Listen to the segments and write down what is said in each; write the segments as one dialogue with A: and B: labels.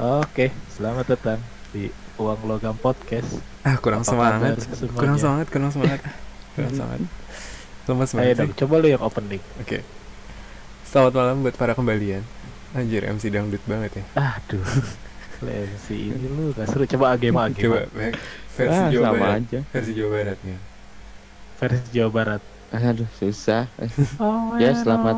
A: Oke, selamat datang di Uang Logam Podcast.
B: Ah, kurang
A: Apa
B: semangat.
A: kabar semuanya? Iya.
B: Kurang semangat, kurang semangat. kurang semangat. Lemes
A: Ayo
B: banget
A: Eh, dong,
B: sih.
A: coba lu yang opening.
B: Oke. Selamat malam buat para kembalian. Anjir, MC dangdut banget ya.
A: Aduh, lu MC ini lu gak seru. Coba agema
B: Coba
A: agema
B: Mac, versi
C: Ah,
B: Jawa
C: sama
B: Barat.
C: aja.
B: Versi Jawa Baratnya.
A: versi Jawa Barat.
C: Aduh, susah.
A: Ya
C: Ya, selamat.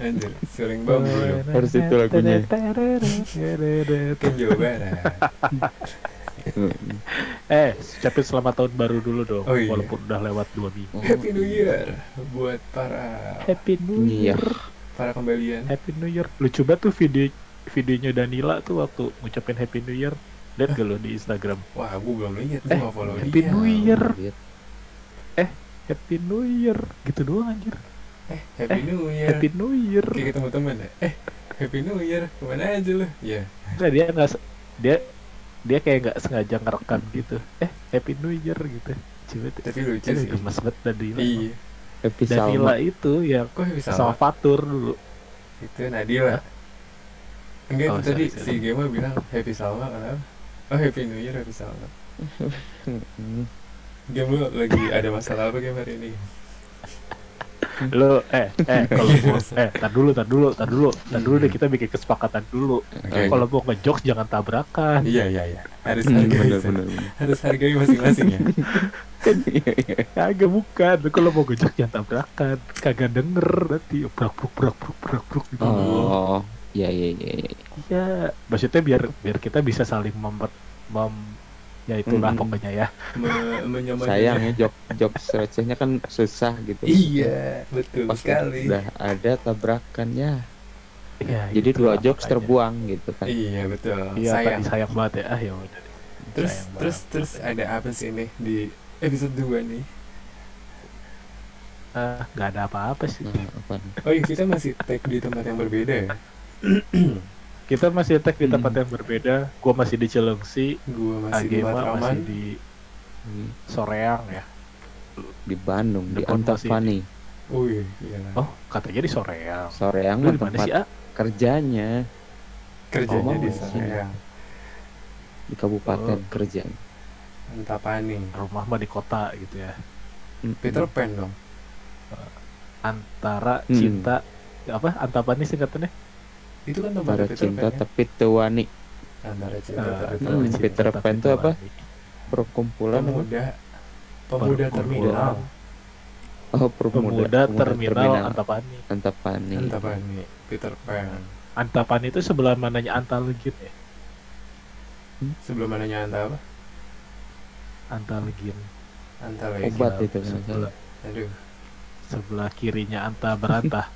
B: Anjir, sering bambu dong.
C: Harus itu lagunya.
B: Kan Jawa Barat.
A: eh, ucapin selamat tahun baru dulu dong,
B: Oh, iya.
A: walaupun udah lewat dua minggu.
B: Happy New Year buat para
A: Happy New
C: Iya.
A: Year,
B: para kembalian.
A: Happy New Year. Lu coba tuh video videonya Danila tuh waktu ngucapin Happy New Year. Lihat gak lu di Instagram?
B: Wah, gue belum lihat, gue nggak follow
A: Eh, Happy
B: dia.
A: New Year. Happy New Year gitu doang anjir.
B: Eh, Happy New Year.
A: Happy New Year.
B: Kayak ketemu teman ya. Eh, Happy New Year. Kemana aja lu? Ya.
A: Nah, dia nggak se- dia dia kayak nggak sengaja ngerekam gitu. Eh Happy New Year gitu. Coba tuh.
B: Tapi lucu
A: Aduh,
B: sih.
A: gemes banget Danila.
B: Iya.
C: Happy
A: Danila
C: Salma.
A: itu yang
B: Kok bisa
A: sama Fatur dulu.
B: Itu Nadila. Enggak
A: Oh,
B: itu tadi
A: sorry,
B: si
A: sorry.
B: Gema bilang Happy Salma kenapa? Oh Happy New Year Happy Salma.
C: Mm,
B: Gema lagi ada masalah apa Gema hari ini?
A: Lo eh eh kalau mau eh tar dulu tar dulu tar dulu tar dulu
B: Iya.
A: deh kita bikin kesepakatan dulu.
B: Oke.
A: Kalau mau ngejokes jangan tabrakan.
B: Iya iya iya. Harus
A: Hmm,
C: mm,
B: hargai
C: Bener,
B: sih.
C: bener, bener.
B: harus hargai masing-masing ya.
A: Kagak bukan. Kalau mau ngejokes jangan tabrakan. Kagak denger nanti brak bruk brak bruk brak bruk gitu.
C: Oh, iya iya iya. iya.
A: ya maksudnya biar biar kita bisa saling memper mem ya itulah
C: Mm-mm.
A: pokoknya ya
B: Me- menyamai-
C: Sayangnya ya, jok jok recehnya kan susah gitu.
B: Iya betul
C: Pas
B: sekali.
C: udah ada tabrakan ya.
A: Ya,
C: Jadi
A: gitu lah
C: dua jokes
A: makanya.
C: terbuang gitu kan.
B: Iya betul.
A: iya
B: Sayang.
A: tadi sayang banget ya ah ya udah deh.
B: Terus
A: sayang
B: terus terus ada apa sih ini di episode 2 nih?
A: Ah, nggak ada apa-apa sih
C: Nah, apa?
B: Oh iya kita masih tag di tempat yang berbeda ya.
A: kita masih tag di tempat
B: Hmm.
A: yang berbeda gua masih di Cilengsi
B: Gua masih di
A: Agema
B: Matraman.
A: Ah, masih di Soreang ya
C: Hmm. Di Bandung, di
A: Depan masih-
C: Antapani.
B: Wih, iya. iyalah.
A: oh katanya di Soreang
C: Soreang
A: lu
C: mah
A: di mana
C: tempat
A: sih ah
C: kerjanya
B: kerjanya
A: Oh,
B: di
A: iya.
B: sana
C: di kabupaten
A: Oh.
C: kerja.
B: entah apa nih
A: rumah mah di kota gitu ya
C: Mm,
B: Peter Pan dong
A: antara
C: Hmm.
A: cinta apa antapani singkatannya
B: itu kan tempat
C: Para
B: Peter
C: cinta
B: Pan kan?
C: tapi tuani
B: antara cinta
A: Ah,
B: tapi
C: Hmm,
B: tuan.
A: antara cinta
C: Peter
A: tapi
C: Pan tuh apa?
A: tuan.
C: perkumpulan apa?
B: pemuda pemuda
A: Perkumpulan.
B: terminal
C: Oh, permuda-
A: pemuda,
C: pemuda
A: terminal, antapani
C: Antapani.
B: entah apa nih Kan Peter Pan
A: antapani itu sebelah mananya antalegin ya
B: sebelum mananya antah apa
A: antalegin
B: antah lagi
C: Obat
A: Sebelah-
C: itu kan,
A: sebelah,
B: aduh
A: sebelah kirinya anta berantah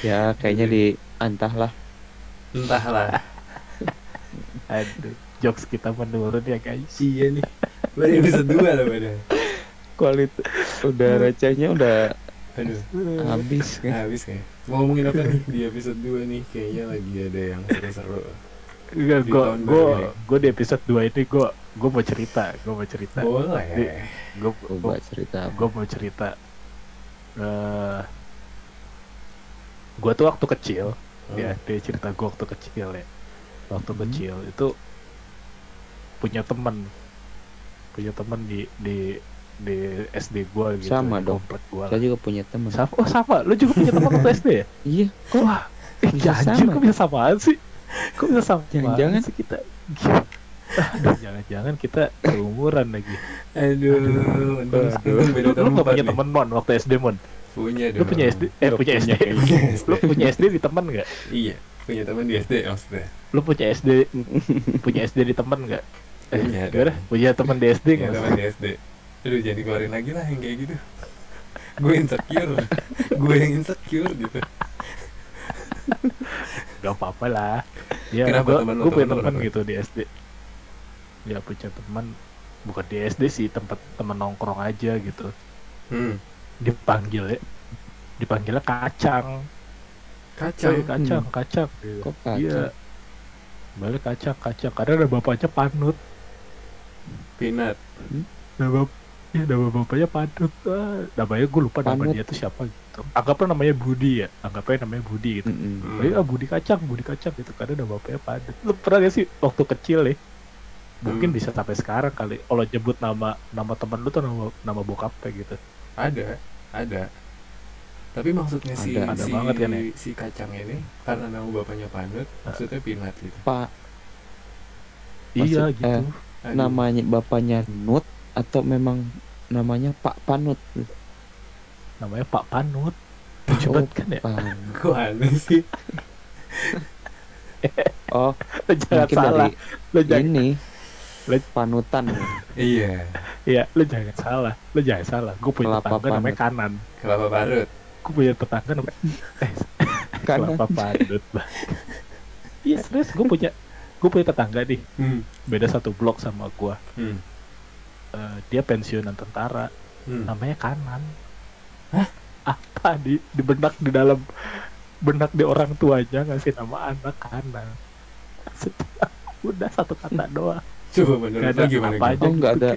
C: Ya, kayaknya di antah lah.
B: entahlah
A: aduh jokes kita menurun ya guys
B: iya nih baru episode dua lah badan
C: Kualitas udah recehnya udah
B: aduh
C: habis kan.
B: habis kayak ngomongin apa nih di episode 2 nih kayaknya lagi ada yang seru-seru
A: Enggak,
B: Di
A: gue
B: tahun
A: gue
B: baru ini.
A: gue di episode 2 ini gue gue mau cerita gue mau cerita
B: boleh
A: gue
C: Coba cerita.
A: gue mau cerita eh gue tuh waktu kecil
B: Oh.
A: ya dia cerita gue waktu kecil ya waktu
C: Hmm.
A: kecil itu punya teman punya teman di di di SD gue gitu
C: Sama
A: di
C: dong.
A: komplek gue
C: Saya juga punya teman.
A: sama oh sama lu juga punya teman waktu SD ya
C: Iya, kok
A: wah eh,
C: Bisa
A: jangan
C: iya, sama.
A: kok bisa samaan sih kok bisa samaan
C: Jangan-jangan.
A: sih kita Gila. Aduh, jangan-jangan kita seumuran lagi
B: Aduh, untung, untung beda
A: lu, lu gak
B: tempat
A: punya
B: nih.
A: teman mon waktu SD mon
B: Punya
A: lu
B: dong.
A: punya SD eh punya SD
B: Punya SD.
A: lu punya SD di teman gak
B: Iya, punya teman di SD maksudnya.
A: lu punya SD punya SD di teman nggak? Eh,
B: Punya.
A: gimana? Punya teman di SD
B: Punya
A: nggak?
B: teman di Iya, kan, SD. Aduh, jadi keluarin lagi lah yang kayak gitu. Gue insecure. Gue yang insecure gitu.
A: Gak apa-apa lah. Ya,
B: Kenapa
A: gua,
B: teman lu,
A: gua punya
B: teman lu
A: teman
B: kenapa?
A: gitu di SD. Ya punya teman bukan di SD sih tempat teman nongkrong aja gitu.
B: Hmm.
A: Dipanggil ya. Dipanggilnya kacang. Coy,
B: Kacau.
A: kacang, kacang.
C: Hmm. kok
A: Iya.
C: kacau.
A: Balik kacang, kacang. Karena ada bapaknya panut.
B: Pinat.
A: Ada bap- ya nama bapaknya Padut ah, namanya gue lupa nama
C: Panut.
A: dia tuh siapa gitu anggaplah namanya Budi ya anggaplah namanya Budi gitu
C: Mm-mm.
B: Hmm.
A: Oh iya Budi Kacang, Budi Kacang gitu karena nama bapaknya padat. Lu pernah gak sih waktu kecil ya? Mungkin
B: Hmm.
A: bisa sampai sekarang kali. Kalau nyebut nama nama teman lu tuh nama nama bokapnya gitu.
B: ada ada tapi maksudnya si
C: Ada,
A: ada
B: si,
A: banget kan ya?
B: si kacang ini karena nama bapaknya Panut maksudnya Pinat gitu
C: Pak
A: iya
C: Maksud- eh.
A: gitu.
B: Aduh,
C: namanya bapaknya Nut atau memang namanya Pak Panut?
A: Namanya Pak Panut. Lucu
C: Oh,
A: banget kan ya?
C: Pan-
B: kok aneh sih
C: Oh,
A: Lu jangan
C: mungkin
A: salah. Lu
C: dari
A: jangan
C: ini
A: Lu-
C: panutan
B: iya
A: iya, lu jangan salah. Lu jangan salah. Gue punya
C: Kelapa
A: tetangga namanya
C: Panut.
A: Kanan.
B: kelapa parut
A: Gue punya tetangga namanya eh,
C: Kanan.
A: Kelapa Panut. Iya serius, gue punya gue punya tetangga nih
B: hmm.
A: beda satu blok sama gue.
B: Hmm.
A: Eh, dia pensiunan tentara.
B: Hmm.
A: namanya kanan Hah? apa di, di benak di dalam benak di orang tuanya ngasih nama anak kanan udah satu kata doang
B: coba menurut
A: gak
B: lo
A: ada
B: gimana
A: apa
B: Gil?
A: aja
C: Oh, nggak ada.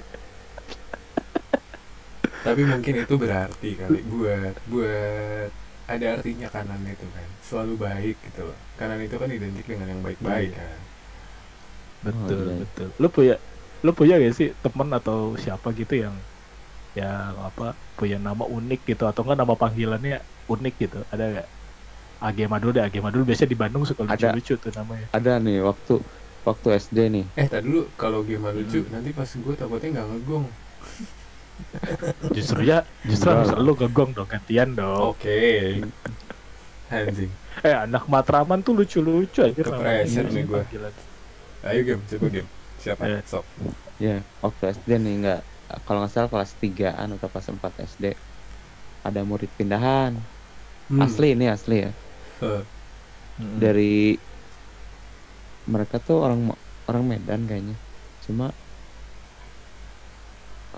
B: tapi mungkin itu berarti kali buat buat ada artinya kanan itu kan selalu baik gitu loh kanan itu kan identik dengan yang baik-baik kan
A: betul
C: Oh, iya.
A: betul lu punya lu punya gak sih temen atau siapa gitu yang yang apa punya nama unik gitu atau enggak nama panggilannya unik gitu ada gak Age Madul deh, Age Madul biasanya di Bandung suka
C: Ada.
A: lucu-lucu tuh namanya.
C: Ada nih waktu waktu SD nih.
B: eh tadi dulu kalau game lucu nanti pas gue takutnya nggak ngegong
A: Justru ya, justru harus
C: Enggak.
A: lu gegong dong, gantian dong.
B: oke anjing
A: Eh, anak Matraman tuh lucu-lucu aja. namanya. Iya,
B: Kepreset nih gua.
A: panggilan.
B: ayo game coba game siapa
A: Eh.
B: sok
C: Ya, waktu SD nih nggak kalau nggak salah kelas 3-an atau kelas 4 SD ada murid pindahan.
B: Hmm.
C: Asli ini asli ya.
B: Eh,
A: Mm-mm.
C: Dari mereka tuh orang orang Medan kayaknya. Cuma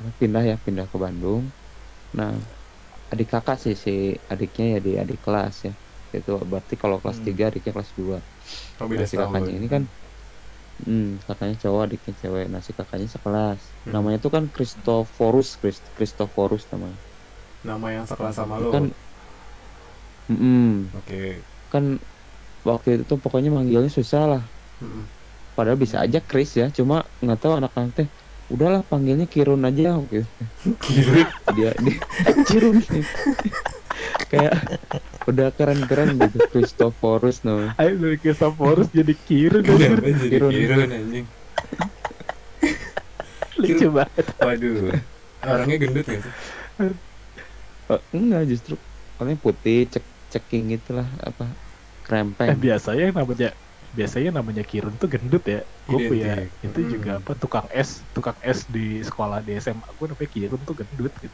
C: eh, pindah ya pindah ke Bandung. Nah, adik kakak sih si adiknya ya di adik kelas ya. Itu berarti kalau kelas
A: Hmm.
C: 3 adiknya kelas
B: oh,
C: 2. Nah,
B: beda
C: si
B: setahun
C: kakaknya ini kan hmm, kakaknya cowok adiknya cewek nah si kakaknya sekelas
B: Hmm.
C: namanya tuh kan Christophorus Christ Christophorus namanya
B: nama yang sekelas sama lo
C: kan
B: oke
C: Mm-mm. kan waktu itu tuh pokoknya manggilnya susah lah
B: Mm-mm.
C: padahal bisa aja Chris ya cuma nggak tahu anak-anak teh udahlah panggilnya Kirun aja gitu
B: Gila.
C: dia dia Kirun kayak udah keren-keren gitu Christophorus namanya
A: Ayo dari Christophorus jadi kiri dong.
B: Kenapa jadi
C: Kirun.
B: kirun anjing
A: Lucu banget.
B: waduh orangnya gendut gak sih
C: Eh, enggak justru paling putih cek ceking gitulah apa
A: Eh,
C: krempeng
A: biasanya yang namanya biasanya namanya Kirun tuh gendut ya. Gue
B: Identik.
A: punya itu
B: Mm.
A: juga apa tukang es, tukang es di sekolah di SMA gue namanya Kirun tuh gendut gitu.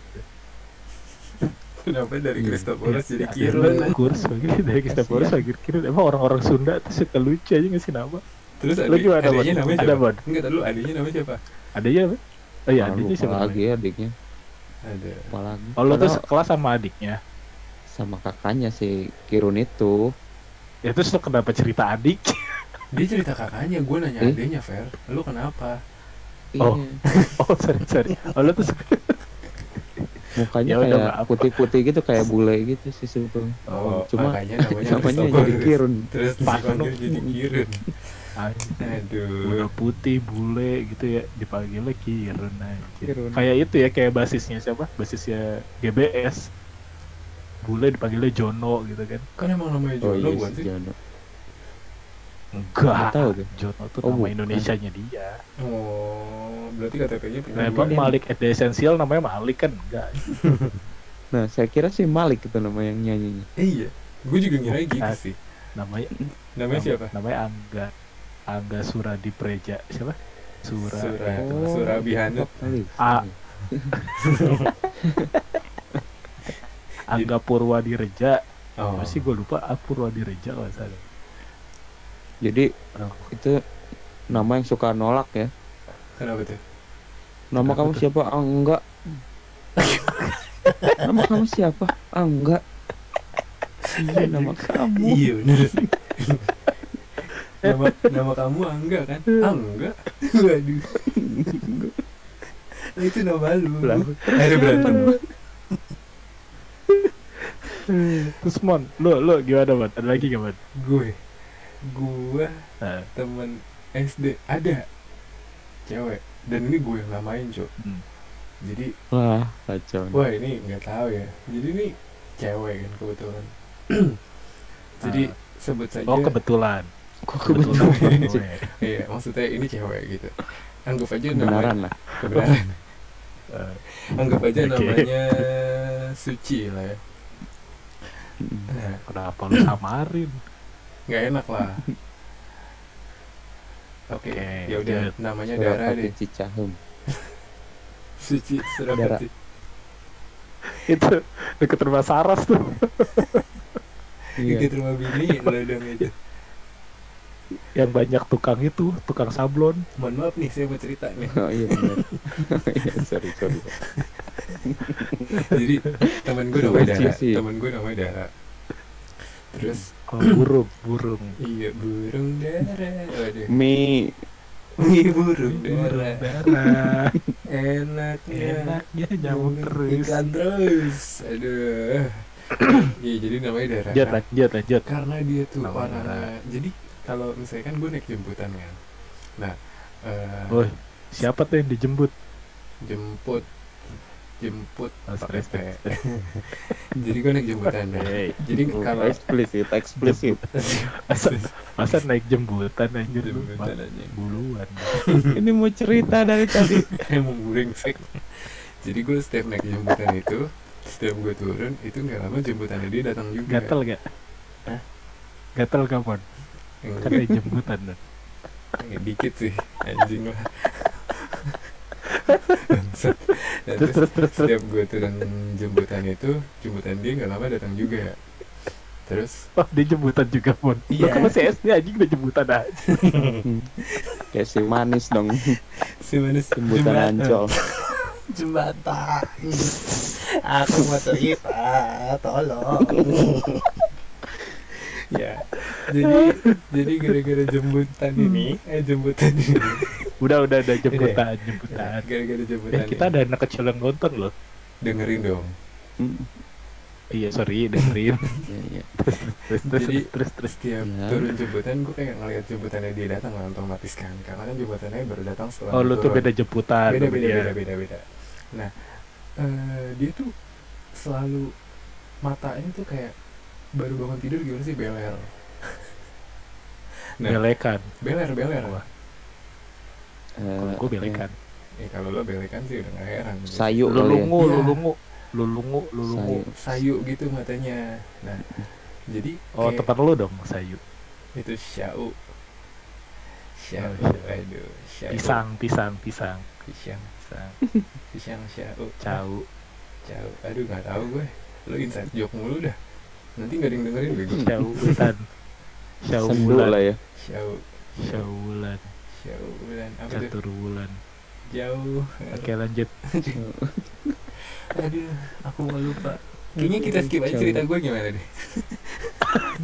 B: kenapa dari
C: Iya.
B: Kristoporus jadi
A: Akhirnya
B: kirun anjing?
A: Kurus begitu dari Christophorus akhir Kirun. Emang orang-orang Sunda tuh suka lucu aja ngasih nama.
B: terus
A: Lu
B: adik,
A: gimana Bon?
B: adiknya namanya
A: Ada
B: siapa
A: Bon?
B: enggak tadi lu adiknya namanya siapa
A: Adanya apa? Oh iya,
C: Ah,
A: adiknya
C: lupa
A: siapa?
C: lagi
A: namanya?
C: ya adiknya
B: ada
C: lupa lagi
A: Oh, lo tuh
C: Padahal
A: sekelas sama adiknya.
C: sama kakaknya si Kirun itu
A: Ya terus lo kenapa cerita adik?
B: dia cerita kakaknya gue nanya
C: Eh?
B: adiknya Fer lu kenapa
A: Oh.
C: Iya.
A: Oh, sorry, sorry. Oh, lo tuh
C: mukanya
A: Ya udah,
C: kayak
A: nggak apa.
C: putih-putih gitu kayak bule gitu sih sebetulnya
B: oh,
C: cuma
B: makanya namanya
C: namanya
B: Kristoporus.
C: jadi Kirun
B: terus
A: Pak.
B: dipanggil jadi kirun
A: anjing.
B: aduh
A: udah putih bule gitu ya dipanggilnya Kirun aja
C: Kirun.
A: kayak itu ya kayak basisnya siapa basisnya GBS bule dipanggilnya Jono gitu kan
B: kan emang namanya Jono
C: oh iya
B: bukan
C: si
B: sih
C: Jono
A: enggak
C: Nggak tahu tuh.
A: Jono tuh
C: Oh,
A: nama
C: bukan.
A: Indonesianya dia
B: Iya, oh berarti KTP-nya punya
A: nah,
B: dua.
A: emang Malik at the Essential namanya Malik kan enggak
C: nah saya kira si Malik itu nama yang nyanyinya
B: Eh, iya gue juga ngira gitu
A: Ah.
B: sih
A: namanya
B: namanya
A: nam-
B: siapa
A: namanya Angga Angga Suradi Preja siapa Sura
B: Surah Surabi Hanut
C: Malik.
A: Ah. Angga Purwadireja
B: oh
A: apa sih gue lupa ah, Purwadireja kalau nggak salah
C: jadi
A: Oh.
C: itu nama yang suka nolak ya
B: kenapa tuh
C: Nama
A: Kenapa
C: kamu
A: tuh?
C: siapa? Ah, enggak. nama kamu siapa? Ah, enggak. Iya, nama kamu.
B: Iya bener sih. nama, nama kamu Angga kan? Angga? Waduh Nah, itu nama lu.
C: Lah.
B: Akhirnya berantem.
A: Terus Mon, lu lu gimana Mon? Ada lagi gak Mon?
B: Gue. Gue
A: Nah,
B: temen SD ada cewek dan ini gue yang namain cok
A: hmm.
B: jadi
C: Wah, kacau. nih.
B: wah ini nggak tahu ya jadi ini cewek kan kebetulan jadi
A: Ah.
B: sebut saja
A: Oh kebetulan.
C: Kok kebetulan sih?
A: Gue.
B: iya maksudnya ini cewek gitu anggap aja namanya
C: Kebenaran lah.
B: kebenaran
A: Eh,
B: anggap aja
A: Oke.
B: namanya suci lah ya
C: Mm.
B: Nah,
A: Kenapa lu samarin?
B: nggak enak lah oke
A: Oke,
B: ya udah
A: lanjut.
B: namanya Dara
C: Surapati
B: deh
C: Cicahem.
B: suci
C: Dara.
B: Surabati
A: Itu deket rumah Saras tuh.
C: Iya.
B: dikit rumah bini lo dong aja
A: Yang banyak tukang itu, tukang sablon.
B: mohon maaf nih saya mau cerita nih
C: Oh iya benar. Iya, sorry, sorry.
B: jadi teman gue namanya
C: Suci
B: Dara
C: sih.
B: teman gue namanya Dara terus
A: Oh, burung, burung.
B: iya burung Dara waduh
C: Hmm. Mi
B: mie
A: Burung
B: burung Dara
A: darah.
B: enaknya
A: Enaknya nyamuk terus.
B: ikan terus aduh iya jadi namanya Dara
A: Lanjut, lanjut, lanjut.
B: karena dia tuh
A: Nama
B: orang
A: Dara.
B: jadi kalau misalkan gue naik jemputan kan nah eh,
A: Woi, siapa tuh yang dijemput?
B: jemput jemput
A: Oh,
B: pakai
A: sorry,
B: P.
A: sorry,
B: jadi gue naik jemputan ya
A: Hey,
B: jadi kalau
C: Eh, oh, eksplisit, eksplisit.
A: masa, masa naik jemputan anjir lu?
B: jemputan aja
A: Buluan.
C: Ini mau cerita dari tadi.
B: emang brengsek jadi gue setiap naik jemputan itu setiap gue turun itu nggak lama jemputannya dia datang juga
A: Gatel gak?
B: Hah?
A: Gatel kapan?
B: Yang-
A: Kan naik jemputan. Don.
B: ya, dikit sih anjing lah Bangsat. Nah,
A: Terus, terus, terus, terus.
B: setiap gue turun jemputan itu jemputan dia nggak lama datang juga terus
A: Oh, dia jemputan juga, Mon. Lu
B: Iya.
A: kan masih SD anjing udah jemputan aja.
C: Kayak si manis dong,
B: si eh. manis
C: jemputan ancol.
B: jembatan aku mau cerita tolong ya jadi jadi gara-gara jemputan ini
A: Hmm.
B: eh jemputan ini
A: Udah, udah, udah jemputan, Iya. jemputan.
B: gara-gara jemputan
A: Nah. Eh, kita
B: ini.
A: ada anak kecil yang nonton loh.
B: dengerin dong
C: Mm.
A: Iya, sorry, dengerin.
C: Iya, iya.
A: terus, terus,
B: Jadi-
A: terus, terus.
B: setiap
C: Ya.
B: turun jemputan gue kayak ngeliat jemputannya dia datang lah otomatis kan karena kan jemputannya baru datang setelah
A: Oh,
B: gue
A: lu tuh
B: turun.
A: beda jemputan.
B: beda
A: sama
B: beda
A: dia.
B: beda beda beda nah eh, dia tuh selalu matanya tuh kayak baru bangun tidur gimana sih beler Nah.
A: Belekan.
B: beler beler
A: Wah.
C: Eh,
A: Gue belekan.
B: Eh, kalau lo belekan sih udah gak heran gitu.
C: Sayu kali ya.
A: Lulungu,
B: Iya.
A: lulungu, lulungu, lulungu.
C: Sayu.
B: sayu gitu matanya nah jadi
A: Oh,
B: kayak-
A: teman lu dong, sayu.
B: itu syau syau
A: Oh,
B: aduh syau
A: Pisang, pisang, pisang,
B: pisang
A: pisang.
B: pisang syau
A: Cau.
B: syau aduh nggak tahu gue lo insan joke mulu dah nanti nggak ada yang dengerin bego
A: Hmm. Syaulan.
C: Sendu
A: Syaulan.
C: lah ya.
B: syau
A: Syaulan.
B: syau bulan apa tuh
A: Catur bulan.
B: jauh
A: Oke lanjut.
B: aduh aku mau lupa kayaknya kita skip aja cerita gue gimana deh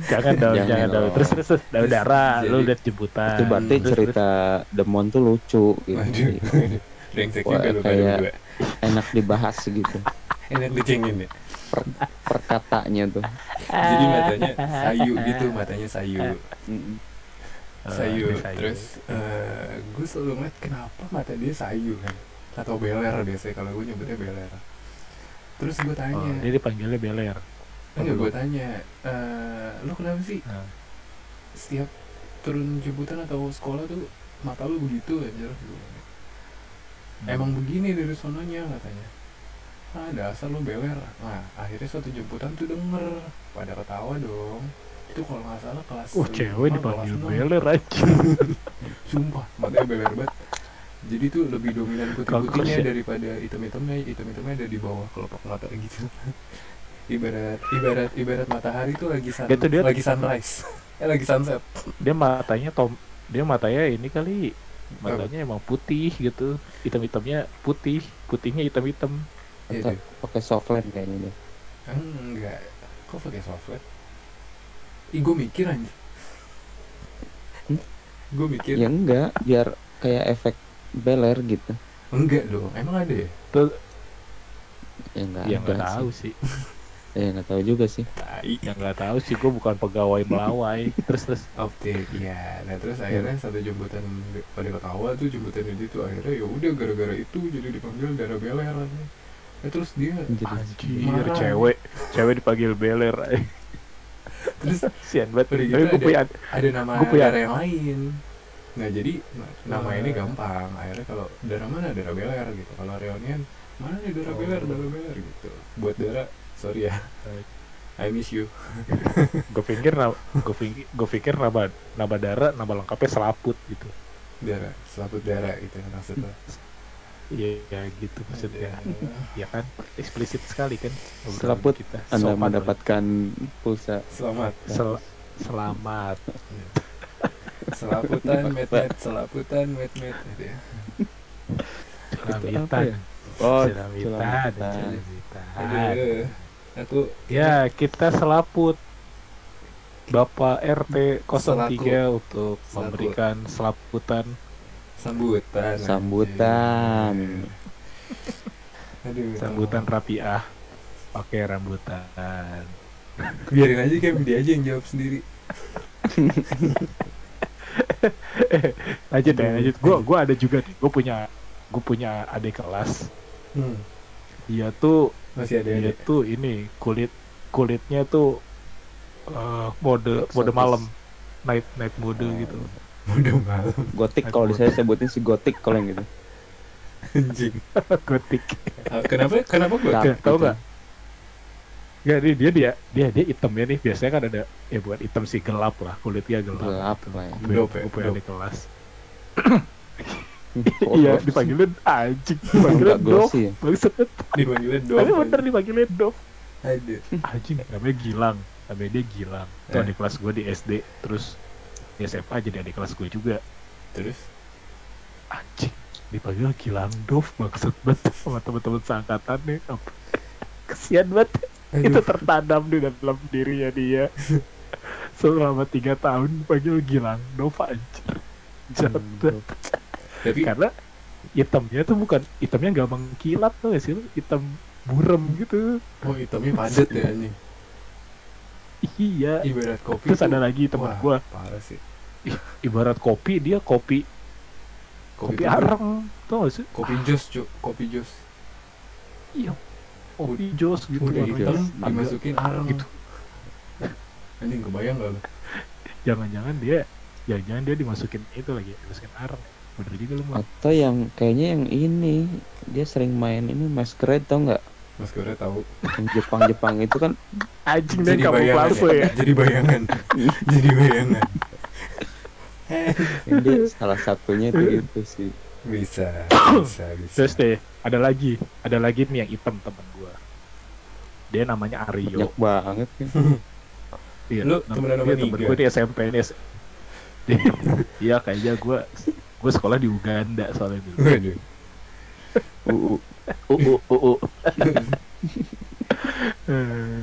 A: Jangan dong,
C: Jangan
A: jangan dong.
C: dong.
A: Terus terus terus Dah,
B: Terus,
A: darah,
B: jadi-
A: lu lihat jemputan.
C: Itu berarti
A: Terus, terus.
C: cerita Demon tuh lucu
A: Iya,
B: waduh
C: gitu.
B: brengsek
C: Wah,
B: juga lo pada
C: kayak-
B: berdua
C: Enak dibahas gitu.
B: enak dicengin ya
C: Perkatanya tuh.
B: jadi matanya sayu gitu matanya sayu
C: Mm.
A: Eh,
B: sayu
A: ini sayu.
B: terus eh gue selalu ngeliat kenapa mata dia sayu kan atau beler biasanya kalau gue nyebutnya beler terus gue
A: Oh,
B: tanya
A: jadi dipanggilnya beler.
B: enggak gue tanya eh lu kenapa sih
A: Nah.
B: setiap turun jemputan atau sekolah tuh mata lu begitu aja emang begini dari sononya katanya ah dasar lu beler nah akhirnya suatu jemputan tuh denger pada ketawa dong itu kalau nggak salah kelas
A: Wah, Oh, cewek
B: lima,
A: dipanggil
B: kelas enam.
A: beler anjing.
B: Sumpah, matanya beler banget. Jadi tuh lebih dominan putih-putihnya
A: Kangkung ya.
B: daripada item-itemnya, item-itemnya ada di bawah kelopak mata gitu. Ibarat ibarat ibarat matahari tuh lagi sun,
A: Gitu dia.
B: lagi sunrise. eh lagi sunset.
A: Dia matanya tom dia matanya ini kali matanya emang putih gitu hitam-hitamnya putih putihnya hitam-hitam
B: Iya,
C: Atau
B: deh.
C: pakai softland kayaknya deh.
B: Kan Enggak. Kok pakai software? Ih, gue mikir anjir.
C: Hmm?
B: Gue
A: Iya.
B: mikir.
C: Iya. Ya enggak, biar kayak efek beler gitu.
B: Enggak dong, emang ada ya?
A: Terus
C: ya nggak
A: ya
C: ada
A: nggak tahu sih.
C: sih. ya nggak tahu juga sih
B: Tai.
A: Ya nggak tahu sih gue bukan pegawai melawai. Terus terus
B: Optik, ya. Nah terus akhirnya satu jemputan di- pada ketawa tuh jemputan itu tuh akhirnya ya udah gara-gara itu jadi dipanggil darah beler lagi. Nah, terus dia
C: jadi
A: anjir
B: Marah.
A: cewek cewek dipanggil beler.
B: terus
A: Sian banget.
B: Udah
A: Tapi
B: gitu
A: gue
B: ada-
A: punya
B: ada nama
A: Gua punya-
B: darah yang lain. Nah jadi na- nama ini gampang. Akhirnya kalau darah mana darah beler gitu. Kalau reunian mana nih darah
A: Oh.
B: beler darah beler gitu. Buat darah sorry ya. I miss you.
A: gue pikir gue pikir gue pikir nama nama darah nama lengkapnya selaput gitu.
B: Darah, selaput darah gitu maksudnya.
A: Iya ya gitu maksudnya. Ya kan eksplisit sekali kan. obrolan
C: Selaput
A: kita.
C: anda
A: Sopan.
C: mendapatkan pulsa
B: Selamat.
A: Sel- selamat.
B: Selaputan, met met, selaputan, met met. Gitu ya.
A: Celamitan.
C: ya? oh
A: Celamitan.
C: celamitan.
A: Celamitan.
B: Aduh, aku
A: Ya, kita selaput Bapak RT 03
B: Selaku.
A: untuk
B: Selaku.
A: memberikan selaputan.
B: sambutan.
C: Sambutan.
B: anjing. Aduh,
A: sambutan rapiah pakai rambutan.
B: Biarin aja kayak dia aja yang jawab sendiri.
A: Lanjut ya, lanjut. Gua gua ada juga nih. Gua punya gua punya adik kelas.
B: Hmm,
A: Dia tuh
B: masih ada
A: dia
B: ada.
A: tuh ini kulit kulitnya tuh eh, mode mode
C: Eksotis.
A: malam night night mode gitu
B: Udah malam
C: gotik kalau di saya sebutin si gotik kalau yang gitu
B: anjing.
A: Oh, gotik
B: Ah, Kenapa? Kenapa gua?
C: Nah.
A: Gak, tau
C: gitu.
A: gak? Gak, dia, dia, dia, dia, dia hitam ya nih. Biasanya kan ada, ya bukan hitam sih, gelap lah. Kulitnya gelap.
C: gelap lah ya
A: Gue
B: Gelap ya,
A: gue punya
B: gelap.
A: di kelas.
C: Oh,
A: Iya,
C: oh.
A: dipanggilin anjing. Dipanggilin
C: Enggak
A: dov.
C: glossy ya?
A: Bangsat.
B: Dipanggilnya dong.
A: Tapi bener dipanggilin dov.
B: Ada.
A: Anjing, namanya Gilang. Namanya dia Gilang. Itu
B: Eh.
A: adik kelas gue di SD. Terus di SMA jadi adik kelas gue juga.
B: Terus
A: Anjing, dipanggil Gilang Dov. Bangsat banget sama teman-teman seangkatannya. Kesian banget. itu
B: Aduh,
A: tertanam di dalam dirinya dia selama tiga tahun panggil Gilang Nova anjir Jahat banget.
B: tapi
A: karena hitamnya tuh bukan hitamnya nggak mengkilat tuh gak sih lu? hitam buram gitu
B: oh hitamnya padat ya anjing.
A: iya
B: Ibarat kopi.
A: terus
B: tuh-
A: ada lagi teman
B: Wah,
A: gua
B: Parah sih.
A: ibarat kopi dia kopi kopi,
B: tuh-
A: arang tau gak sih
B: Kopi jus, Cuk. Kopi jus.
A: iya kopi jos gitu warnanya.
B: Udah hitam
A: Agak-
B: dimasukin arang
A: gitu.
B: Anjing kebayang gak lu?
A: jangan-jangan dia jangan-jangan dia dimasukin itu lagi dimasukin arang bener juga lu Mak.
C: atau yang kayaknya yang ini dia sering main ini masquerade tau nggak
B: Mas Kura tahu.
C: yang Jepang Jepang itu kan
A: anjing dan
B: Jadi
A: kamu
B: bayangan.
A: ya
B: Ya. Jadi bayangan. Jadi bayangan.
C: yang dia salah satunya itu gitu sih
B: Bisa, bisa, bisa.
A: Terus deh, ada lagi, ada lagi nih yang hitam temen gua. Dia namanya Aryo.
C: banyak banget kan
A: Iya, nam-
B: Lu temenan sama
A: dia temen
B: Niga?
A: gue di SMP ini. S- Iya, kayaknya gua gue sekolah di Uganda soalnya dulu.
B: Waduh.
C: uu
A: Uh, uh, uh, uh. Eh,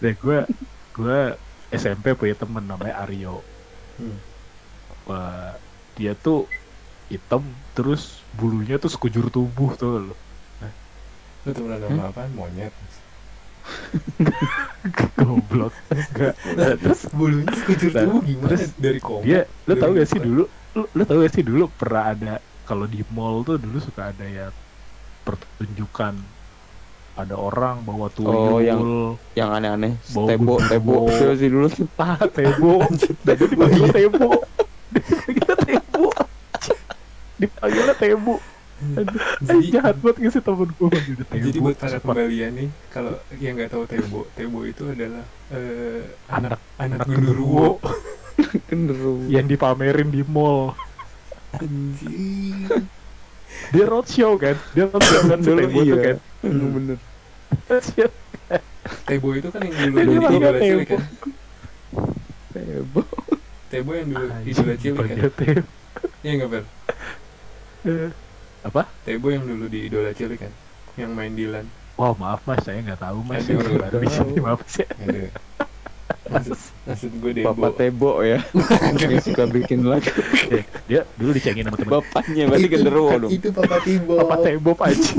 A: Deh gua gua SMP punya temen namanya Aryo.
B: Hmm.
A: Wah, Eh, dia tuh hitam terus bulunya tuh sekujur tubuh tuh loh.
B: Lu temenan sama
A: Hmm?
B: apaan? Monyet.
A: Goblok. Enggak. Nah, terus
B: Bulunya sekujur
A: Nah,
B: tubuh gimana?
A: terus
B: Dari koma.
A: dia lo tau
B: Dari
A: gak sih dulu lo, lo tau gak sih dulu pernah ada kalau di mall tuh dulu suka ada ya pertunjukan ada orang bawa tuyul
C: Oh, yang yang aneh-aneh
A: Bau
C: tebo
A: gunung.
C: tebo itu sih dulu tuh
A: ah tebo dan dia dipanggil tebo kita tebo dipanggilnya tebo Aduh, eh,
B: Jadi-
A: jahat banget gak sih temen gue panggilnya tebo
B: Jadi buat para
A: Sumpah.
B: pembelian nih, kalau yang nggak tahu Tebo, Tebo itu adalah eh, anak anak,
A: anak
B: genderuwo.
C: genderu
A: yang dipamerin di mall
B: Anjing.
A: dia roadshow kan dia roadshow kan si tebo tuh kan
C: iya. bener
A: Roadshow.
B: Tebo itu kan yang dulu
A: Jadi
B: jadi
A: makanya
B: idola cilik
A: Tebo.
B: kan.
C: tebo
B: Tebo yang dulu idola
A: Anjing,
B: cilik kan.
A: dipanggil tebo
B: Iya nggak Fer?
A: Eh, apa
B: Tebo yang dulu di idola cilik kan. Yang main Dilan.
A: Wah maaf mas, saya nggak tahu mas.
B: Aduh,
A: Saya baru
C: nggak
A: di sini
C: tahu.
A: maaf mas ya.
B: Ada. maksud, maksud gue debo
C: Bapak Tebo ya yang suka bikin lagu
A: Iya, dia dulu dicengin sama teman
C: bapaknya berarti genderuwo
B: bukan
C: dong
B: Kan itu papa tibo
A: Papa Tebo aja.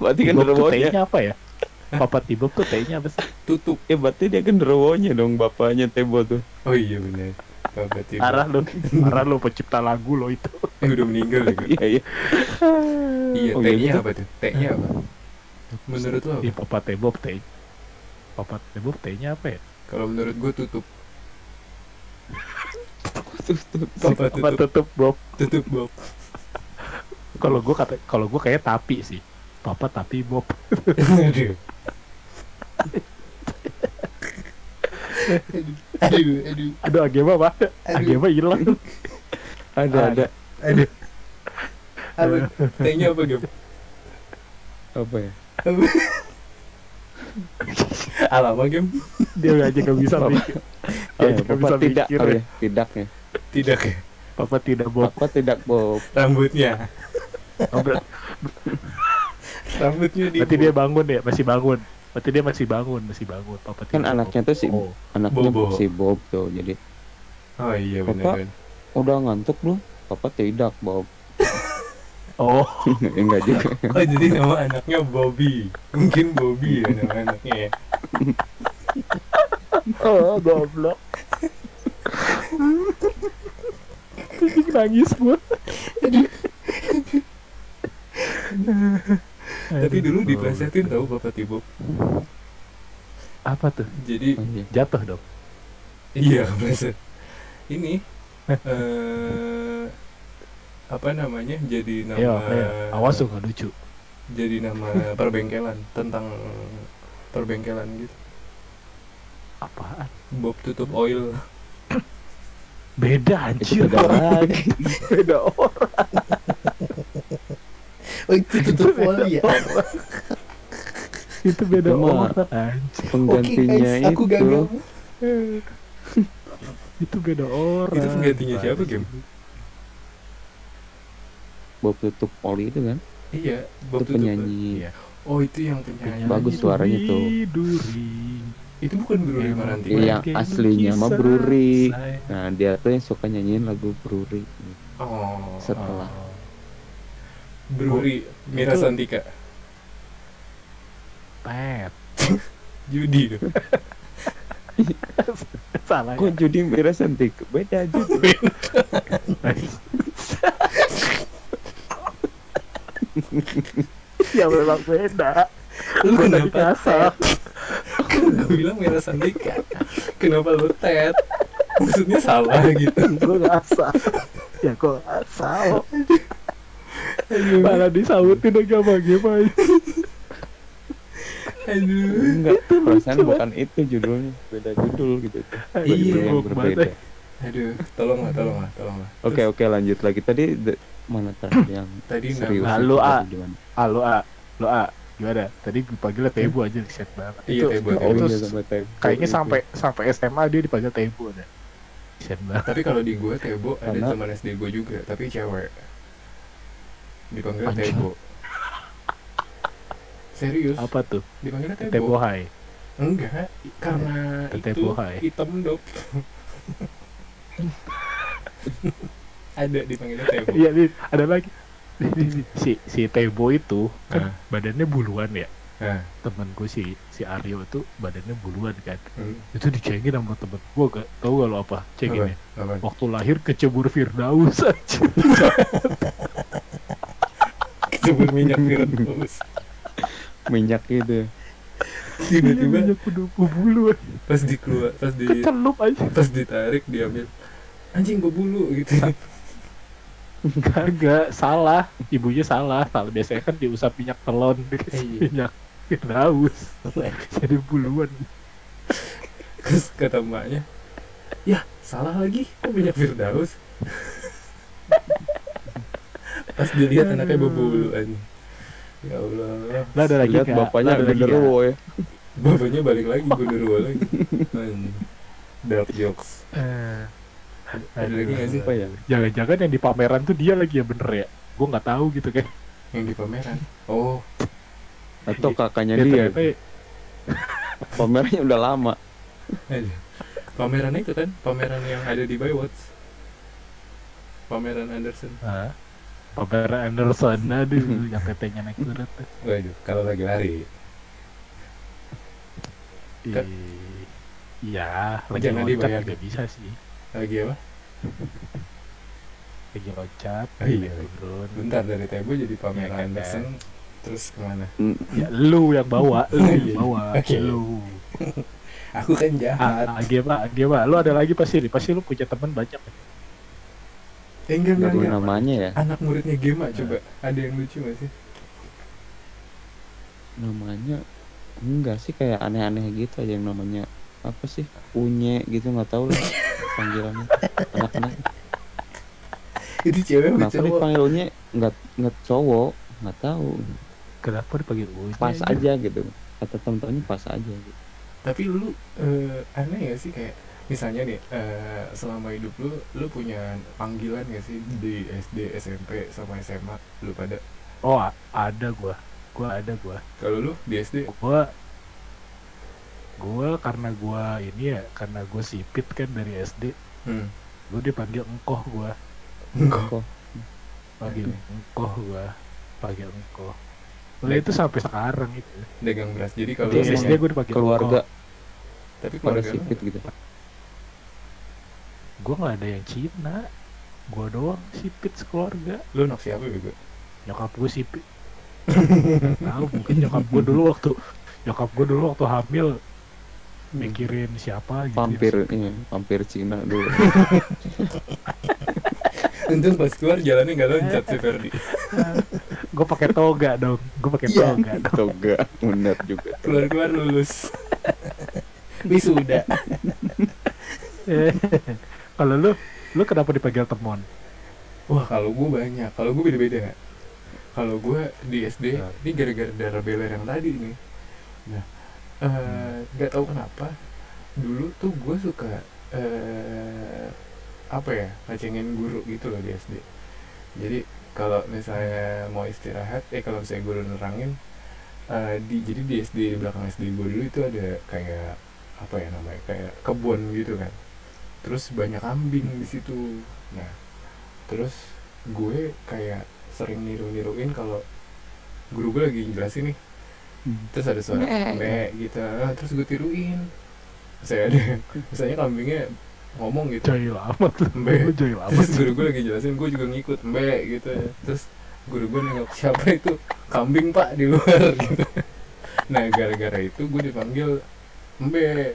C: berarti
A: Tibob tuh
C: genderuwonya
A: T-nya apa ya? Papa Tibob tuh T-nya apa sih?
B: tutup
C: ya berarti dia genderuwonya dong bapaknya Tebo tuh
B: oh iya benar papa tibo
A: Arah lu, arah lu pencipta lagu lo itu.
B: eh udah meninggal ya gue.
C: iya iya
B: iya
C: Oh,
B: t
C: iya
B: nya
C: gitu.
B: apa tuh t nya apa menurut lo
A: Iya
B: apa?
A: Papa Tebob T. Papa Tebob T-nya apa ya?
B: kalau menurut gue tutup
A: Papa,
B: Papa tutup
A: tutup Bob.
B: tutup bob
A: Kalau gua kata kalau gua kayak tapi sih. Papa tapi Bob.
B: aduh aduh aduh aduh
A: Aduh Agema mah. Agema hilang.
C: ada Ah, ada
B: aduh apa t nya apa gem
C: apa ya
B: apa apa gem
A: Dia aja gak bisa
C: Papa-
A: mikir.
C: Oh,
A: Dia
C: ya,
A: aja gak
C: Bapak
A: bisa
C: tidak
A: mikir.
C: kali
A: ya.
C: ya tidak ya
B: tidak ya
A: Papa tidak Bob.
C: Bapak tidak Bob
B: rambutnya
A: Oh, ber-
B: rambutnya di
A: Berarti dia bangun ya, masih bangun. Berarti dia masih bangun, masih bangun. Papa
C: kan
A: Tibob.
C: anaknya tuh si
A: Oh.
C: anaknya
B: Bobo.
C: si Bob tuh jadi
B: oh iya
C: Papa.
B: benar
C: udah ngantuk lu Bapak tidak Bob
A: Oh,
C: enggak juga
B: Oh jadi nama anaknya Bobby Mungkin Bobby ya nama anaknya ya
A: oh goblok. Anjing nangis gue.
B: Tapi dulu diplesetin tau Bapak Tibo
A: apa tuh?
B: Jadi
C: Oh, iya.
A: Jatuh dong.
B: iya kepleset Ini eh Apa namanya Jadi nama
A: Ayo, ayo. Iya, Awas tuh nggak lucu.
B: Jadi nama perbengkelan Tentang perbengkelan gitu
A: Apaan?
B: Bob tutup oil
A: Beda
C: itu
A: anjir.
C: beda lagi
A: Beda orang.
B: Oh itu tutup oil ya
D: Oh,
A: Itu beda
C: Itu mah-
A: orang anjir.
C: penggantinya itu
A: Itu beda orang.
B: Itu penggantinya siapa Gem?
C: Bob tutup oli itu kan
B: Iya Bob
C: itu
B: tutup oil.
C: penyanyi
A: Iya.
B: Oh itu yang penyanyi
C: Bagus suaranya tuh.
A: Duri.
B: Itu bukan Bruri Maranti kan?
C: Iya.
A: Bagai
C: aslinya mah
A: lukisan
C: Bruri.
A: saya.
C: nah dia tuh yang suka nyanyiin lagu Bruri
B: Oh
C: setelah
B: Bruri Mira
A: Itu-
B: Santika
A: Pet.
B: Judi tuh.
A: Salah. ya.
C: kok Judi Mira Santik beda Judi
A: ya memang beda.
B: Lu
A: Beda
B: kenapa
A: kasar.
B: Gue bilang Mira Santika Kenapa lu tet Maksudnya salah gitu
A: Gue gak asal. Ya gue asal. Malah disautin lagi sama gimana?
B: Aduh
C: enggak perasaan
A: lucu
C: bukan itu judulnya beda judul gitu
A: Aduh,
B: Iya,
C: Judul yang
A: goblok banget,
C: berbeda
A: eh.
B: Aduh Tolong lah tolong lah tolong lah
C: oke oke lanjut lagi tadi the- mana tadi yang
B: Tadi
C: serius
B: nama
A: Nah, lu,
C: itu
A: A.
C: tadi gimana?
A: Ah lo A, lo A gimana? Tadi dipanggilnya Tebu aja set banget.
B: Iya,
A: Itu-
B: Tebu,
A: itu-
C: Oh,
A: itu
B: Tebu.
C: iya, sama Tebo
A: kayaknya
C: itu.
A: sampai sampai SMA dia dipanggil Tebu ada. Set banget.
B: Tapi kalau di gue Tebo Ada
C: Karena-
B: teman SD gue juga Tapi cewek Dipanggil
A: Anjir.
B: Tebo Serius
A: Apa tuh?
B: Dipanggil Tebo
A: Tebu Hai.
B: Enggak Karena itu
A: Tebo Hai.
B: Hitam dop Ada dipanggilnya Tebo
A: Iya, nih, ada lagi. Nih, nih, nih. si si Tebo itu kan
B: Ah.
A: badannya buluan ya.
B: Nah,
A: Temen gue si si Aryo itu badannya buluan kan.
B: hmm.
A: Itu dicengin sama temen gue gak tau gak lo apa cenginnya.
B: Apa?
A: Waktu lahir kecebur Firdaus aja.
B: Kecebur minyak Firdaus
C: minyak gitu ya.
B: tiba-tiba
A: Iya, kudupu bulu aja.
B: pas dikeluar pas di
A: Kecelup aja.
B: pas ditarik diambil anjing gue bulu gitu
A: Kagak salah, ibunya salah. Salah biasanya kan diusap minyak telon, dikasih
B: Iya.
A: minyak firdaus. Jadi buluan.
B: terus kata emaknya ya salah lagi kok minyak Firdaus pas dilihat anaknya berbulu anjing ya Allah
A: Lah ada lagi
C: lihat
A: nggak?
C: bapaknya
A: Lah, ada lagi
C: genderuwo ya
B: bapaknya balik lagi gondorwa lagi anjing dark jokes
A: nggak? Eh,
B: Ada lagi nggak sih?
C: apa ya
A: Jangan-jangan yang di pameran tuh dia lagi ya bener ya? Gue nggak tahu gitu kan.
B: yang di pameran oh
C: atau kakaknya
A: Dia
C: dia gitu.
A: ternyata
C: pamernya udah lama
B: Aja. Pameran itu kan, pameran yang ada di Baywatch. Pameran Anderson.
A: Nah, Pamela Anderson, aduh, yang tetenya naik turun tuh.
B: Waduh, kalau lagi lari. Ke-
A: Ih, Iya, lagi
B: Jangan dibayar.
A: loncat nggak bisa sih.
B: Lagi apa?
A: Lagi loncat,
B: Oh iya,
A: naik
B: iya.
A: turun.
B: Bentar dari Tebo jadi
A: Iya,
B: pameran
A: kan,
B: Anderson. Terus kemana?
A: Ya lu yang bawa, lu yang bawa,
B: Oke.
A: lu.
B: Aku kan jahat.
A: Ah, Age pak, Age pak, lu ada lagi pasti, nih, pasti lu punya teman banyak.
B: Eh, enggak, enggak,
C: baru
B: enggak.
C: namanya ya
B: Anak muridnya Gema coba. Ada yang lucu gak sih?
C: namanya enggak sih kayak aneh-aneh gitu aja yang namanya apa sih unye gitu nggak tahu lah panggilannya anak-anak
B: Itu cewek apa
C: kenapa
B: cowok?
C: dipanggil unye nggak nggak cowok nggak tahu
A: Kenapa dipanggil Unya?
C: pas
A: ya?
C: aja gitu kata temen-temennya pas aja gitu.
B: Tapi lu eh, aneh gak sih kayak Misalnya nih, eh, selama hidup lu, lu punya panggilan gak sih di SD, SMP, sama SMA? Lu pada
A: Oh, a- ada gua. Gua ada gua.
B: Kalau lu di SD
A: Gua gua karena gua ini ya, karena gua sipit kan dari SD,
B: hmm.
A: gua dipanggil engkoh gua.
B: Engkau
C: kok
A: Panggil engkoh gua. Panggil engkoh. Mulai itu sampai sekarang itu.
B: dagang beras Jadi kalau
A: Di
B: lu
C: Jadi
A: SD
B: punya-
A: gua dipanggil
C: keluarga
B: Tapi
C: pada
B: keluarga lu
C: sipit gitu
A: engkoh. Gua nggak ada yang Cina. Gua doang sipit sekeluarga.
B: Lu anak siapa gitu? juga?
A: nyokap gue sih tahu mungkin nyokap gue dulu waktu nyokap gue dulu waktu hamil mikirin siapa gitu
C: vampir iya vampir Cina dulu
B: Untung pas keluar jalannya gak loncat sih Ferdi
A: gue pakai toga dong gue pakai
B: Iya.
A: toga dong
C: toga bener juga
B: Keluar-keluar lulus Wisuda
A: Eh, kalau lu lu kenapa dipanggil temon
B: Wah kalau gue banyak Kalau gue beda-beda Kalau gue di SD
A: Nah.
B: Ini gara-gara darah beler yang tadi nih Nah eh, Gak tahu kenapa Dulu tuh gue suka eh Apa ya Kacengin guru gitu loh di SD Jadi kalau misalnya mau istirahat Eh kalau misalnya guru nerangin eh, di, Jadi di SD belakang SD gue dulu itu ada kayak Apa ya namanya Kayak kebun gitu kan Terus banyak kambing di situ Nah Terus gue kayak sering niru-niruin kalau guru gue lagi jelasin nih terus ada suara
C: Mek.
B: me gitu Ah, terus gue tiruin saya ada misalnya kambingnya ngomong gitu
A: jahil amat lu
B: Mbe.
A: lu jahil amat
B: terus guru gue lagi jelasin gue juga ngikut mbe gitu ya terus guru gue nengok siapa itu kambing pak di luar gitu nah gara-gara itu gue dipanggil mbe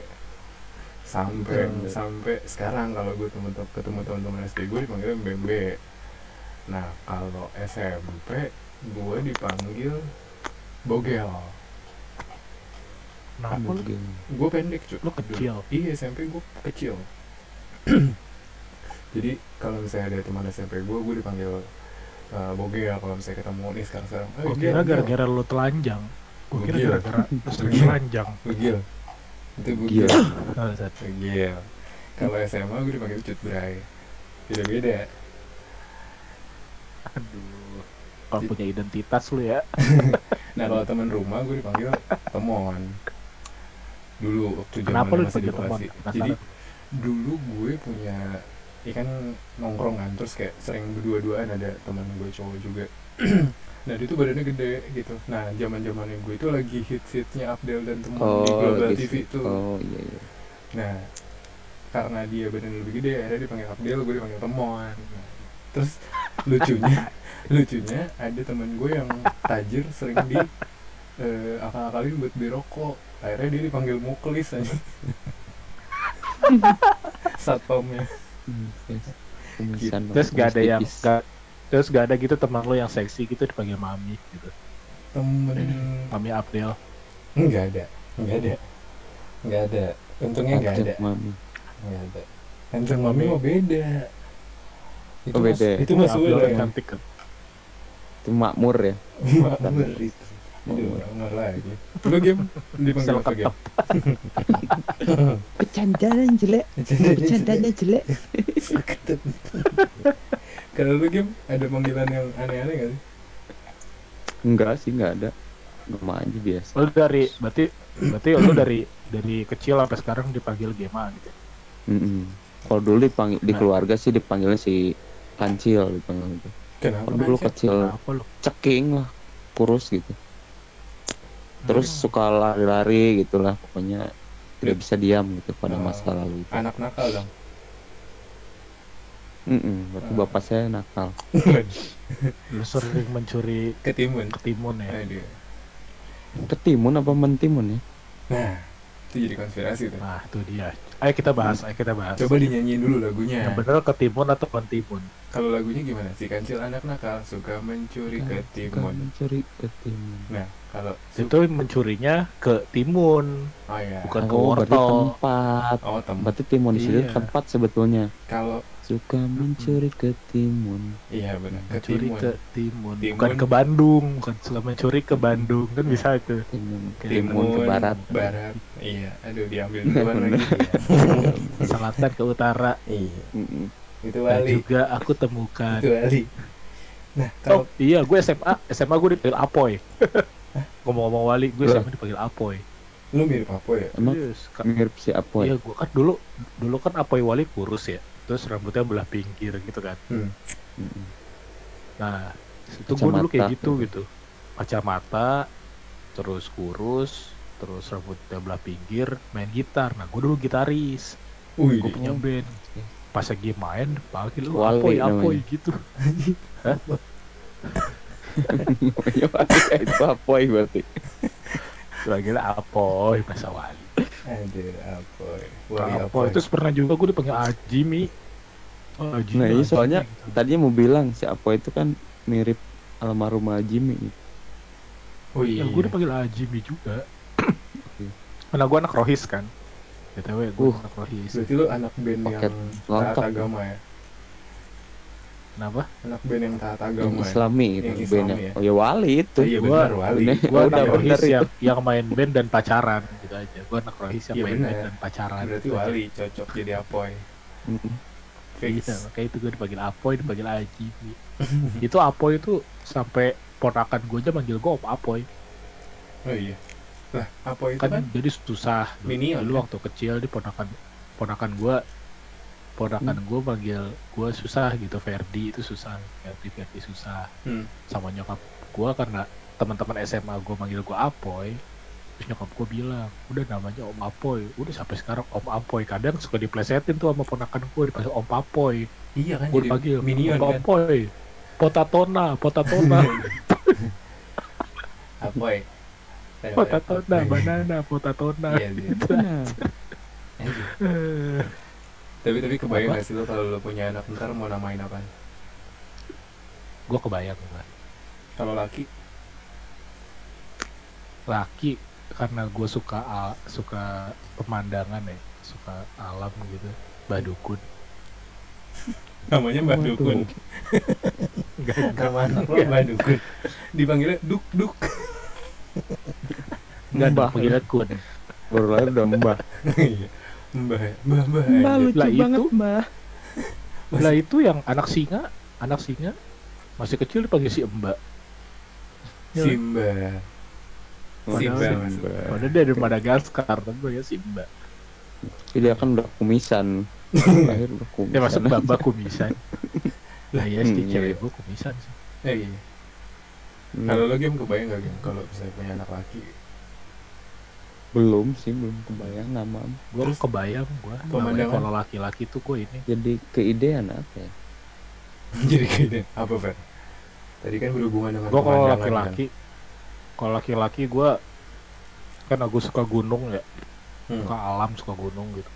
B: sampai
A: Mbe.
B: sampai sekarang kalau gue temen ketemu teman-teman SD gue dipanggil mbe mbe nah kalau SMP gue dipanggil bogel
A: kenapa lu
B: gue pendek cuy
A: lu kecil
B: Iya SMP gue kecil Jadi kalau misalnya ada teman SMP gue Gue dipanggil eh, Bogel kalau misalnya ketemu nih sekarang-sekarang "Eh,
A: gue
B: Gil,
A: kira
B: Gil."
A: gara-gara lu telanjang gue kira
B: Gila.
A: gara-gara lu sering
B: Gila.
A: telanjang
B: Bogel Itu Bogel
C: Gil.
A: Bangsat.
B: Bogel Kalau SMA gue dipanggil Cut Bray Beda-beda
A: aduh kalau punya identitas lu ya
B: Nah kalau teman rumah gue dipanggil Temon Dulu waktu zaman
A: kenapa lu
B: masih di
A: dipanggil temon
B: Bekasi Jadi
A: Penasaran.
B: dulu gue punya ikan nongkrong kan terus kayak sering berdua-duaan ada teman gue cowok juga nah dia tuh badannya gede gitu nah zaman zamannya gue itu lagi hits hitsnya Abdel dan teman di
C: oh
B: Global
C: lagi
B: TV
C: sih.
B: tuh
C: oh iya iya
B: nah karena dia badan lebih gede akhirnya dipanggil Abdel gue dipanggil teman Nah, terus lucunya lucunya ada teman gue yang tajir sering di eh, akal-akalin buat beli rokok akhirnya dia dipanggil muklis aja satpamnya
C: Hmm, yes. Kumisan,
A: terus gak ada
C: kumis
A: yang
C: tipis.
A: gak, terus gak ada gitu teman lo yang seksi gitu dipanggil mami gitu
B: temen
A: mami April
B: nggak ada nggak ada nggak ada untungnya nggak ada
C: Ajak mami.
B: nggak ada Handsome mami mah beda itu
C: Oh,
B: mas-
C: beda ya?
B: itu mas
A: April
B: Uda
A: kan
B: yang
A: cantik kan
C: itu makmur ya
B: makmur itu Aduh, makmur lagi lu game dipanggil apa game
C: bercandaan jelek
B: Bercandanya
C: jelek
B: seketep. kalau lu game ada panggilan yang aneh-aneh nggak sih
C: enggak sih enggak ada nama aja biasa
A: Lu dari berarti berarti lu dari dari kecil sampai sekarang dipanggil Gema gitu.
C: Mm-mm. kalau dulu dipanggil di
A: Nah.
C: keluarga sih dipanggilnya si kancil dipanggil gitu.
B: Kenapa
C: kalau dulu
B: Kancil?
C: kecil
A: Kenapa lu?
C: ceking lah kurus gitu terus
A: Hmm.
C: suka lari-lari gitulah pokoknya tidak bisa diam gitu pada
B: Oh.
C: masa lalu itu.
B: Anak nakal dong.
C: Mm-mm, berarti
B: Ah.
C: bapak saya nakal
A: lu sering mencuri
B: Ketimun.
A: ketimun ya.
B: Nah, dia.
C: ketimun apa mentimun ya
B: Nah, itu jadi konspirasi tuh.
A: Nah, itu dia. Ayo kita bahas, ayo kita bahas.
B: Coba ya. dinyanyiin dulu lagunya.
A: Yang Ya, bener ketimun atau mentimun?
B: Kalau lagunya gimana? Si kancil anak nakal suka mencuri
C: Nah,
B: ke
C: Bukan
B: timun.
C: mencuri ketimun
B: Nah, kalau su-
A: Itu mencurinya ke timun,
B: oh ya.
A: bukan ke
C: oh, berarti
A: wortel.
C: tempat
B: Oh, tempat.
C: berarti timun di situ
A: Iya.
C: tempat sebetulnya
B: Kalau
C: suka mencuri ketimun
B: iya benar ke
A: Mencuri
B: timun.
A: ke timun,
B: Timun.
A: bukan ke Bandung, bukan suka mencuri ke Bandung kan bisa itu.
C: timun
A: Ke
C: timun ke barat
B: Barat. Iya, aduh diambil duluan lagi.
A: Ke selatan ke utara.
B: Iya.
C: Mm-mm.
B: Itu
A: Dan
B: wali.
A: juga aku temukan.
B: Itu wali. Nah,
A: Oh,
B: kalau
A: iya, gue SMA, SMA gue dipanggil Apoy. Ngomong-ngomong wali, gue
C: Lah.
A: SMA dipanggil Apoy.
B: lu mirip apa ya?
C: emang
A: Serius, Kak.
C: mirip si apoy
A: Iya, gue kan dulu dulu kan Apoy Wali kurus ya. Terus rambutnya belah pinggir gitu kan.
B: Hmm.
C: Mm-mm.
A: Nah, itu gue dulu
C: Kacamata.
A: kayak gitu gitu. Kacamata, terus kurus, terus rambutnya belah pinggir, main gitar. Nah, gue dulu gitaris.
B: Wih,
A: Gue punya
C: Oh.
A: band. Pas lagi main, panggil lu
C: Wali
A: Apoy, Apoy
C: namanya.
A: gitu.
C: Iya, itu apoy berarti
A: Panggil Apoy, bahasa Wali.
B: ada apa? ya? Wali
A: Apoy.
B: apa? Itu
A: Terus pernah juga gue dipanggil Aji, Mi. Oh, Aji,
C: Nah, iya,
A: Aji,
C: soalnya
A: gitu.
C: tadinya mau bilang si apoy itu kan mirip almarhum gitu, Jimmy
B: Oh
A: Ya,
B: iya.
A: gue dipanggil Ajimi juga.
C: Oke.
A: Karena gue anak rohis kan. BTW, gue
C: Iya. Uh.
A: anak rohis.
B: Berarti lu anak band
C: Paket
B: yang taat
C: lengkap.
B: agama ya?
A: Kenapa?
B: Anak band yang taat
C: yang
B: agama ya?
C: islami
B: Yang
C: itu
B: Islami
C: bandnya
B: ya.
C: oh ya wali itu
B: Iya
A: Gua-
B: benar wali.
C: Bener.
A: Gue
C: Oh,
A: anak
C: iya,
A: rohis
C: bener itu.
A: yang, yang main band dan pacaran gitu aja. Gue anak rohis yang
B: Iya,
A: main
B: bener.
A: band dan pacaran.
B: Berarti
A: gitu aja.
B: wali cocok jadi apoy.
C: Mm-mm.
B: Fix.
A: Iya, makanya itu gue dipanggil Apoy, dipanggil Ajimi. itu Apoy itu sampai ponakan gue aja manggil gue Om Apoy.
B: Oh iya. Lah, apoy itu
A: Kan
B: kan
A: jadi susah.
B: Minion,
A: Dulu
B: kan?
A: waktu kecil di ponakan ponakan gue ponakan
B: Hmm.
A: gue manggil gue susah gitu Ferdi itu susah Ferdi Ferdi susah
B: hmm.
A: sama nyokap gue karena teman-teman SMA gue manggil gue Apoy terus nyokap gue bilang udah namanya Om Apoy udah sampai sekarang Om Apoy kadang suka diplesetin tuh sama ponakan gue dipanggil Om Apoy
B: Iya kan
A: gue
B: jadi
A: dipanggil
B: minion
A: Om
B: kan. Iya,
A: Apoy potatona potatona
B: Apoy.
A: potatona
B: Apoy.
A: banana potatona
B: Iya, iya.
C: Nah,
B: Aduh.
A: Eh,
B: Tapi tapi kebayang
A: Apa?
B: gak sih lo kalau lo punya anak ntar mau namain apa?
A: gue kebayang gua.
B: Kalau laki,
A: laki karena gue suka al- suka pemandangan ya suka alam gitu badukun
B: namanya Mbak Dukun.
A: Enggak,
B: Nama anak lo
A: Iya.
B: Mbak Dukun. Dipanggilnya Duk Duk.
A: enggak
C: Mbah.
A: panggilnya kun
C: baru lahir udah mbah
B: Iya. Mbah, Mbah, Mbah.
C: mbah
B: anjir.
C: lucu
A: Lah, itu-
C: banget mbah
A: Lah itu yang anak singa, anak singa masih kecil dipanggil si Mbak.
B: Simba. Simba.
A: Padahal- Padahal dia dari Madagaskar, tapi panggil si Mbak.
C: Jadi kan udah kumisan. Lahir udah kumisan.
A: Ya maksud Mbak kumisan. Lah ya sih
C: Hmm,
A: cewek
C: iya.
A: gue kumisan sih.
B: Eh, iya.
C: Hmm,
B: Kalau lo game kebayang gak game kalau misalnya punya anak laki
C: belum sih, belum kebayang nama.
A: Gue
B: Terus
A: kebayang gue.
B: pemandangan?
A: Kalau laki-laki tuh gue ini
C: Jadi keidean apa ya?
B: jadi kayaknya apa Fer? Tadi kan berhubungan dengan
A: gue kalau
B: pemandangan, kan?
A: laki-laki kalau laki-laki gue kan aku suka gunung ya
B: Hmm.
A: suka alam suka gunung gitu
B: Iya.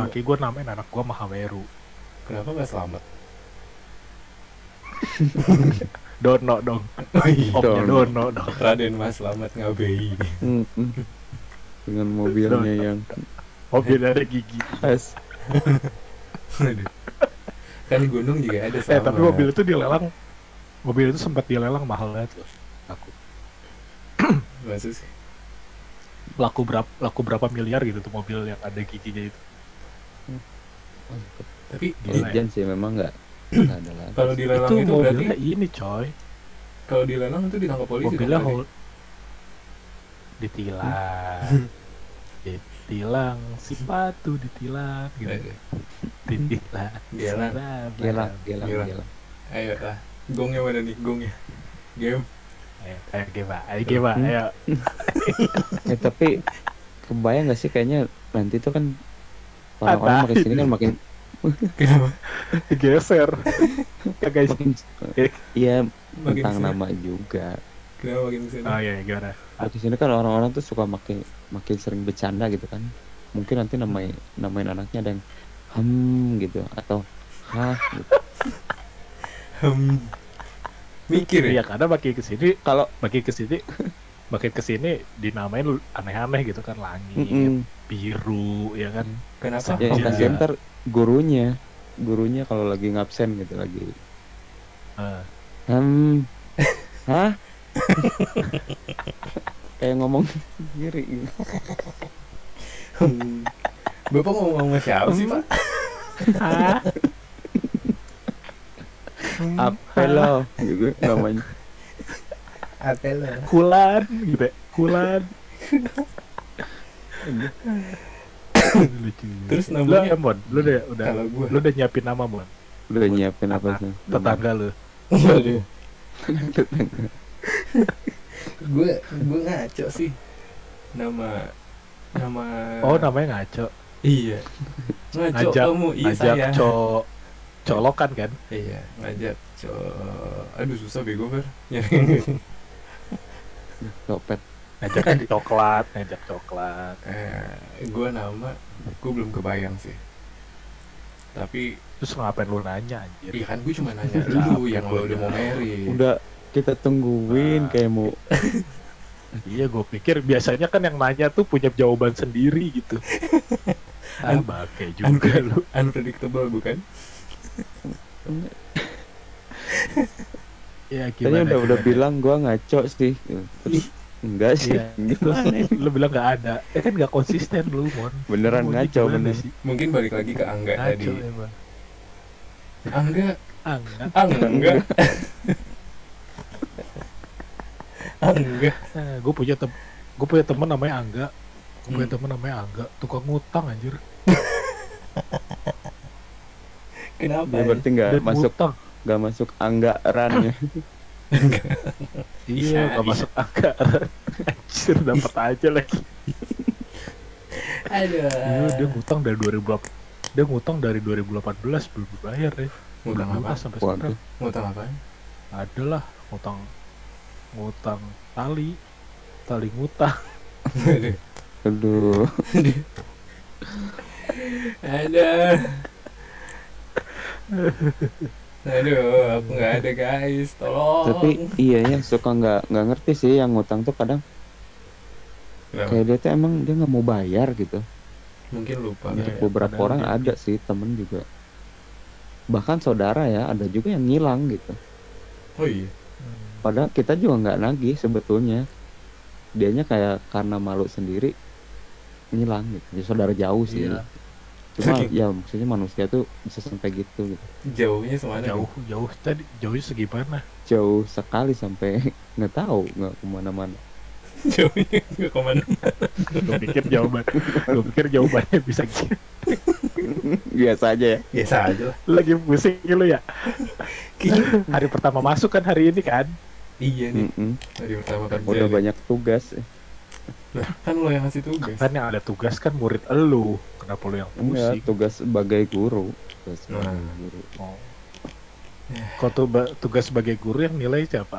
A: laki-laki gue namain anak gue Mahameru
B: Kenapa gak selamat?
A: Dono dong
B: Oh iya.
A: omnya
C: Dono.
A: Dono dong
B: Raden Mas Selamat ngabei.
C: Mm-mm. Hmm, Dengan mobilnya yang
A: omnya dari gigi
C: khas.
B: Aduh. kan gunung juga ada
A: Eh
B: selamat.
A: tapi mobil itu dilelang Mobil itu sempat dilelang mahal banget loh Laku,
B: Maksud sih.
A: laku berapa, laku berapa miliar gitu tuh mobil yang ada giginya itu
B: Tapi
A: Gila ya.
C: Keidean sih memang nggak. nggak ada lagi.
B: kalau dilelang itu, berarti
A: mobilnya ini coy
B: Kalau dilelang itu ditangkap polisi. kan?
A: mobilnya
B: dong berarti.
A: hol- ditilang ditilang sepatu ditilang gitu
B: Aduh,
A: ditilang
B: Dilelang.
A: Nah,
C: Eh. Gila,
A: nah.
C: gila,
B: Gila.
C: gila.
B: Ayo lah. Gongnya mana nih? Gongnya. Game.
A: ayo ayo Gema ayo Gema
C: Hmm.
A: ayo
C: Eh, tapi kebayang gak sih kayaknya nanti tuh kan orang-orang
A: Apa?
C: makin sini kan makin
B: Kenapa?
A: digeser ya guys
C: makin iya
B: Makin
C: tentang
B: kesini.
C: nama juga.
B: Kenapa makin kesini?
A: oh iya gimana
C: Makin sini kan orang-orang tuh suka makin makin sering bercanda gitu kan. Mungkin nanti namain namain anaknya ada yang hmm gitu atau hah gitu.
B: Hmm. Mikir ya?
A: iya karena makin kesini
C: Kalau
A: makin kesini makin kesini dinamain lu- aneh-aneh gitu kan langit
C: mm-mm.
A: biru ya kan
B: Kenapa?
C: ya yang
A: Iya.
C: kasihan ntar gurunya gurunya kalau lagi ngabsen gitu lagi
A: Eh,
C: hmm hah kayak ngomong sendiri gitu.
B: Hmm. Bapak ngomong sama siapa sih, Pak?
A: ah
B: Hmm.
C: apa lo gitu namanya
B: Apel lah.
A: kulan gitu ya kulan lucu
B: Terus
A: lu
B: namanya-
A: ya mon lu udah udah
B: Kalau gua.
A: lu udah nyiapin nama mon
C: udah nyiapin apa sih
A: tetangga lu
B: Eh. Waduh. gue gue ngaco sih nama nama
A: oh namanya ngaco
B: iya ngaco
A: Ngajak-
B: kamu iya
A: ajak
B: saya
A: co colokan kan
B: iya ngajak co aduh susah bego Ya. ber
C: copet
B: Iya.
A: ngajak coklat ngajak coklat
B: eh, gue nama gue belum kebayang sih tapi
A: terus ngapain lu nanya anjir
B: iya kan gue cuma nanya dulu yang lo udah mau marry
C: udah kita
A: Nah.
C: tungguin kayak mau
A: iya gue pikir biasanya kan yang nanya tuh punya jawaban sendiri gitu ah
B: An-
A: bangke juga
B: Unpre-
A: lu
B: unpredictable bukan
A: ya
B: Iya,
C: tadi
A: gimana
C: udah udah
A: gimana?
C: bilang gua ngaco sih gitu. terus enggak sih
A: Iya.
C: gitu.
A: lu bilang nggak ada ya kan nggak konsisten lu mon
C: beneran
A: Lu
C: ngaco
A: gimana
C: bener
A: sih?
B: mungkin balik lagi ke angga tadi
C: ya.
A: ngaco emang
B: angga
A: ah nggak
B: angga
A: Iya.
B: angga
A: gue Eh, punya tem gue punya teman namanya Angga gue punya
B: Hmm.
A: teman namanya Angga tukang ngutang anjir
B: kenapa
D: Iya,
C: ya berarti nggak
A: Dan
C: masuk
A: ngutang
C: nggak masuk anggaran ya
A: iya nggak
B: iya.
A: masuk Angga anjir dapat aja lagi
B: ada
A: Iya, dia ngutang dari 2008 dia ngutang dari 2018 belum dibayar ya
B: ngutang
A: Belum
B: apa
A: lunas sampai
C: Waduh.
A: sekarang
B: ngutang apa
A: ada lah ngutang ngutang tali tali ngutang
C: aduh
B: ada aduh aku nggak ada guys tolong
C: tapi iya ya suka nggak nggak ngerti sih yang ngutang tuh kadang
B: Kenapa?
C: kayak dia tuh emang dia nggak mau bayar gitu
B: mungkin lupa
A: Iya.
C: beberapa
A: padahal
C: orang
A: dia-
C: ada sih temen juga bahkan saudara ya ada juga yang ngilang gitu
B: oh iya
A: Hmm.
C: padahal kita juga nggak nagih sebetulnya dianya kayak karena malu sendiri ngilang gitu ya saudara jauh sih
A: Iya.
C: cuma ya maksudnya manusia tuh bisa sampai gitu gitu
B: jauhnya semana
A: jauh jauh tadi jauhnya segimana
C: jauh sekali sampai nggak tahu nggak kemana-mana
B: jauhnya nggak kemana
A: gue pikir jawaban gue pikir jawabannya bisa gitu
C: biasa aja ya
B: biasa aja lah
A: Lu lagi pusing lu ya
C: Iya.
A: hari pertama masuk kan hari ini kan
B: iya nih
C: Mm-mm.
B: hari pertama kerja
C: Hmm. udah
B: nih.
C: banyak tugas
B: Lah, kan lo yang ngasih
C: Iya.
B: tugas
A: kan yang ada tugas kan murid elu kenapa lu yang
C: Enggak,
A: pusing
C: Iya, tugas sebagai guru. Tugas
B: Nah.
C: sebagai guru.
A: Oh. Kalau tuba- tugas sebagai guru yang nilai siapa?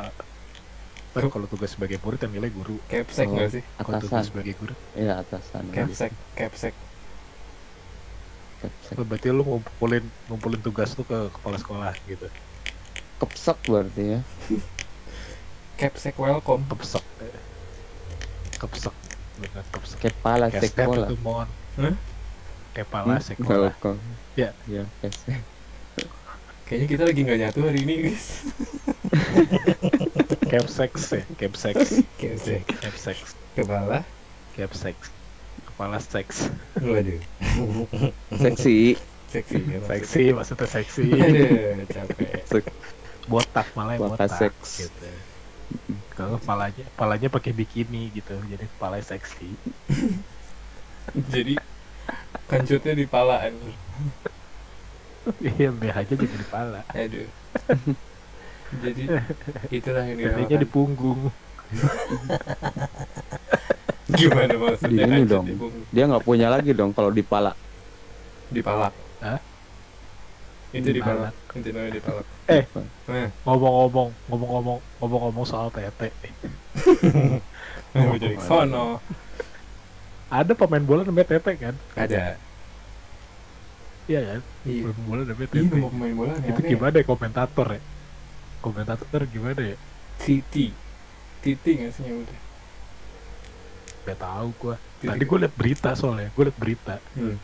A: Kan kalau tugas sebagai murid yang nilai guru.
B: capsek nggak
C: Oh.
B: sih
A: Kalau tugas
C: Atasan,
A: sebagai guru,
C: ya atasan.
B: capsek capsek
C: Kepsek.
A: oh, berarti lu ngumpulin ngumpulin tugas lu ke kepala sekolah gitu.
C: Kepsek berarti ya.
B: capsek welcome
A: Kepsek. Kepsek. Benar kepsek.
C: Kepala
A: Kesek
C: sekolah. Hmm?
A: itu mon.
B: Hah?
A: Kepala sekolah.
C: Welcome.
A: Ya.
C: Ya, kesek.
B: Kayaknya kita lagi nggak nyatu hari ini, guys.
A: Kepsek, se- kepsek,
B: Kepsek.
A: kepsek,
B: Kepala.
A: kepsek. Kepala seks.
B: Waduh.
C: Seksi.
B: Seksi. ya, maksudnya.
A: Seksi maksudnya seksi.
B: Aduh, capek.
C: Sek-
A: Botak malah yang
C: Botak
A: botak.
C: seks.
A: Gitu. ke kepalanya kepalanya pakai bikini gitu jadi kepalanya seksi
B: jadi kancutnya di pala anjir.
A: iya BH-nya jadi di kepala
B: aduh jadi itulah yang
A: jadinya
B: dirawat
A: di punggung
B: gimana maksudnya
C: Di ini
B: kancut
C: dong.
B: di punggung?
C: Dia nggak punya lagi dong kalau di pala.
B: di pala
A: Hah?
B: itu di pala itu namanya di pala
A: Eh.
B: nah,
A: ngomong-ngomong ngomong-ngomong ngomong-ngomong soal tete nih.
B: nah, mau jadi ke sono
A: ada pemain bola namanya tete kan
B: ada
A: iya kan
B: iya
A: pemain bola namanya
B: Ih,
A: tete
B: nama pemain bola aneh
A: itu gimana ya komentator ya komentator gimana ya
B: Titi Titi nggak sih nyebutnya
A: gak tahu gua
B: Titi.
A: tadi gua liat berita soalnya gua liat berita
B: Hmm.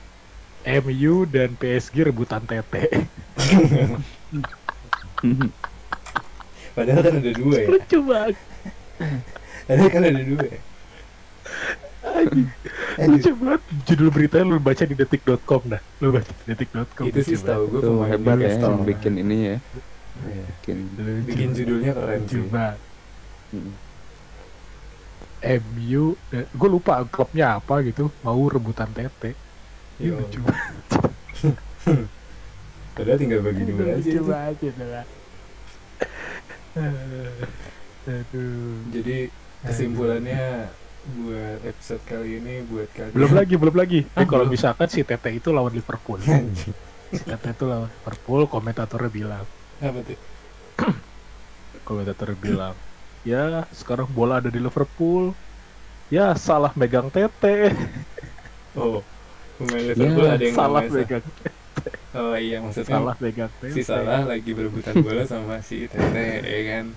A: MU dan PSG rebutan tete
B: padahal kan ada dua ya
A: lucu banget
B: padahal kan ada dua ya Aduh,
A: lucu banget judul beritanya lu baca di detik.com dah lu baca di detik.com
B: itu sih
A: lucu banget.
B: tahu gue
C: Itu
B: pemain
C: hebat ya
B: Newcastle.
C: yang bikin ini ya.
B: Iya.
C: Bikin
A: lucu
B: bikin judulnya keren
A: lucu
B: sih
A: banget
C: Mm.
A: MU gue eh, lupa klubnya apa gitu mau rebutan tete Ih,
B: Yo,
A: lucu banget
B: padahal tinggal bagi dua aja
A: lucu
B: itu.
A: banget itu lah aduh
B: jadi kesimpulannya buat episode kali ini buat kalian
A: belum lagi belum lagi Ini
B: Ah,
A: Eh, kalau
B: belum.
A: misalkan si Tete itu lawan Liverpool
B: Anjing.
A: si Tete itu lawan Liverpool komentatornya bilang
B: apa tuh
A: komentatornya bilang ya sekarang bola ada di Liverpool ya salah megang Tete
B: oh pemain Liverpool
C: Ya,
B: ada yang
A: Iya, salah
B: namanya
A: megang
B: Sa- oh iya maksudnya
A: salah megang Iya, Tete
B: si Salah lagi berebutan bola sama si Tete ya kan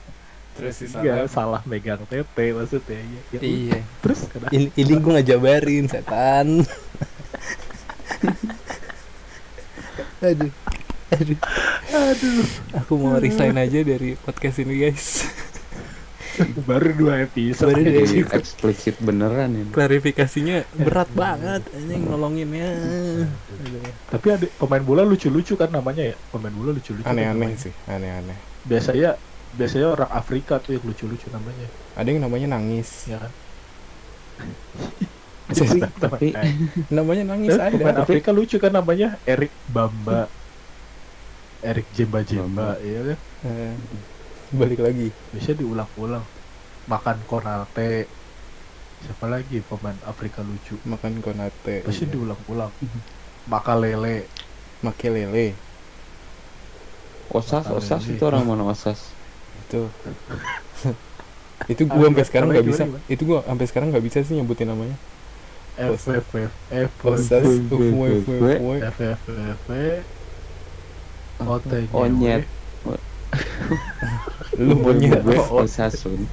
B: terus si
A: Enggak, salah
B: Salah
A: megang Tete maksudnya ya, ya,
D: Iya.
A: terus kenapa
D: Ini, ini gue ngejabarin setan. aduh, aduh.
A: aduh
D: Aku mau resign aja dari podcast ini guys.
A: baru dua episode
D: Baru dua
C: jadi
D: episode.
C: eksplisit beneran ini.
D: Klarifikasinya berat banget, anjing nolonginnya.
A: tapi ada pemain bola lucu-lucu kan namanya ya pemain bola lucu-lucu kan
B: aneh-aneh
A: namanya.
B: sih aneh-aneh
A: biasanya biasanya orang Afrika tuh yang lucu-lucu namanya
B: ada yang namanya nangis
A: ya kan
B: Jadi,
C: Tapi-
B: namanya nangis
D: Iya,
A: Terus pemain
B: ada
A: Afrika lucu kan namanya Eric Bamba
D: Hmm.
A: Eric Jemba Jemba ya kan
B: Eh, balik lagi
A: bisa diulang-ulang makan konate siapa lagi pemain Afrika lucu
B: makan konate
A: pasti
B: Iya.
A: diulang-ulang maka lele
B: make lele
C: Osas, osas
A: Apalagi.
C: itu orang mana osas?
B: itu itu gua sampai sekarang nggak
A: Apalagi
B: bisa
A: gimana,
B: itu gua sampai sekarang nggak bisa sih nyebutin namanya
A: F F F F
B: Posas
C: Weh,
B: Ufwe
C: weh,
B: Ufwe
C: weh.
B: Ufwe
A: F F F F
C: Oh,
A: Otenya
C: Onyet.
B: lu monyet
C: Gue osasun.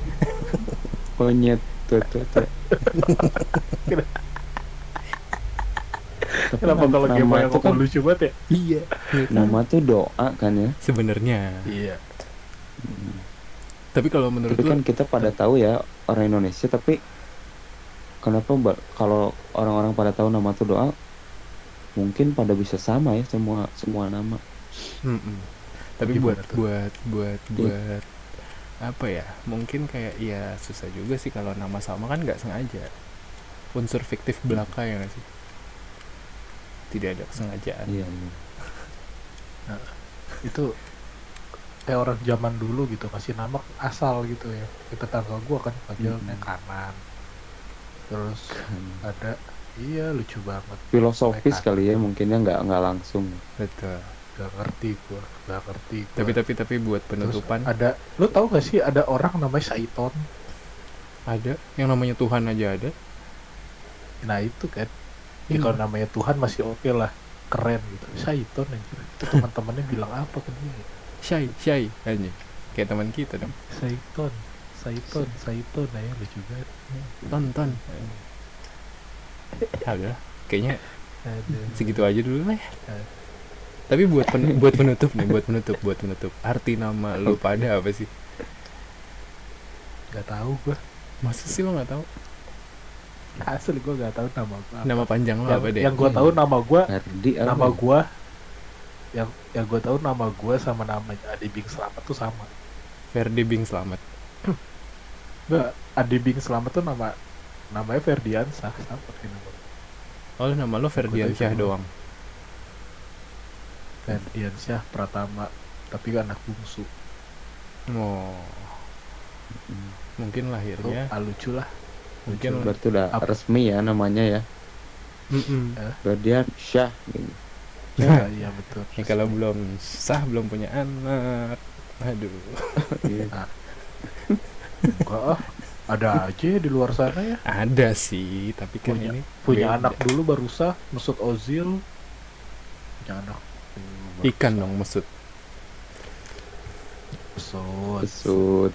C: Onyet tuh tuh tuh. Tapi
A: Kenapa
C: nam-
A: kalau game
C: nama
A: yang
C: tuh kan,
A: ngomong lucu banget ya?
D: Iya.
C: nama tuh doa kan ya.
B: sebenarnya
A: Iya.
B: tapi kalau menurut
C: Tapi
B: lu
C: kan kita pada tahu ya orang Indonesia tapi kenapa ba- kalau orang-orang pada tahu nama tuh doa mungkin pada bisa sama ya semua semua nama.
B: Mm-mm. tapi
A: Gimana
B: buat
A: tuh?
B: buat buat
C: Iya.
B: buat apa ya mungkin kayak ya susah juga sih kalau nama sama kan nggak sengaja unsur fiktif belaka ya nggak sih tidak ada kesengajaan
C: Iya.
A: Itu kayak orang zaman dulu gitu kasih nama asal gitu ya. Kita tetangga gua kan panggilnya
C: Hmm.
A: kanan. Terus ada iya lucu banget.
C: Filosofis
A: Mereka.
C: kali ya mungkinnya nggak nggak langsung.
B: betul
A: Gak ngerti gua, gak ngerti. Gua.
B: tapi tapi tapi buat
A: Terus
B: penutupan
A: ada lu tau gak sih ada orang namanya Saiton?
B: ada yang namanya Tuhan aja ada
A: Nah itu kan ya,
B: Iya.
A: kalau namanya Tuhan masih oke lah keren gitu. Saiton anjir. Itu teman-temannya bilang apa ke dia? ya?
B: Syai Syai aja kayak teman kita dong
A: Saiton, Saiton, Saiton nah ya lucu banget.
B: tonton ya udah kayaknya
A: Ada.
B: segitu aja dulu lah ya.
A: Eh.
B: tapi buat pen- buat penutup nih buat penutup buat penutup arti nama lu pada apa sih
A: Gak tahu gua.
B: masa sih lo nggak tahu
A: Asli gua gak tahu nama gua. apa.
B: nama panjang lo
A: yang,
B: apa Hmm. Nah, deh
A: yang gua tahu nama gua,
C: Hardi apa
A: nama
C: ya?
A: gua yang yang gua tahu nama gua sama namanya Adi Bing Slamet tuh sama.
B: Ferdi Bing Slamet
A: Nah, Adi Bing Selamat tuh nama namanya Ferdiansah sama kayak nama
B: Oh nama lo Ferdian
A: Aku tahu.
B: Syah doang.
A: Ferdiansyah Pratama tapi kan anak bungsu.
B: Oh
C: Hmm.
B: mungkin
A: Itu
B: lahirnya
A: ah, lucu lah.
B: mungkin
A: lucu.
C: Berarti udah
A: Apa?
C: resmi ya namanya ya.
D: Mm-mm.
C: Berdian Syah gitu.
A: Ya, iya betul.
B: ya kalau belum sah belum punya anak. Aduh.
C: Iya.
A: Enggak, ah. ada aja ya di luar sana ya.
B: Ada sih tapi kan
A: Punya-
B: ini
A: Punya
B: beda.
A: anak dulu baru sah, Mesut Ozil. Punya anak. dulu baru
B: ikan dong maksud.
A: Mesut.
C: Pesut.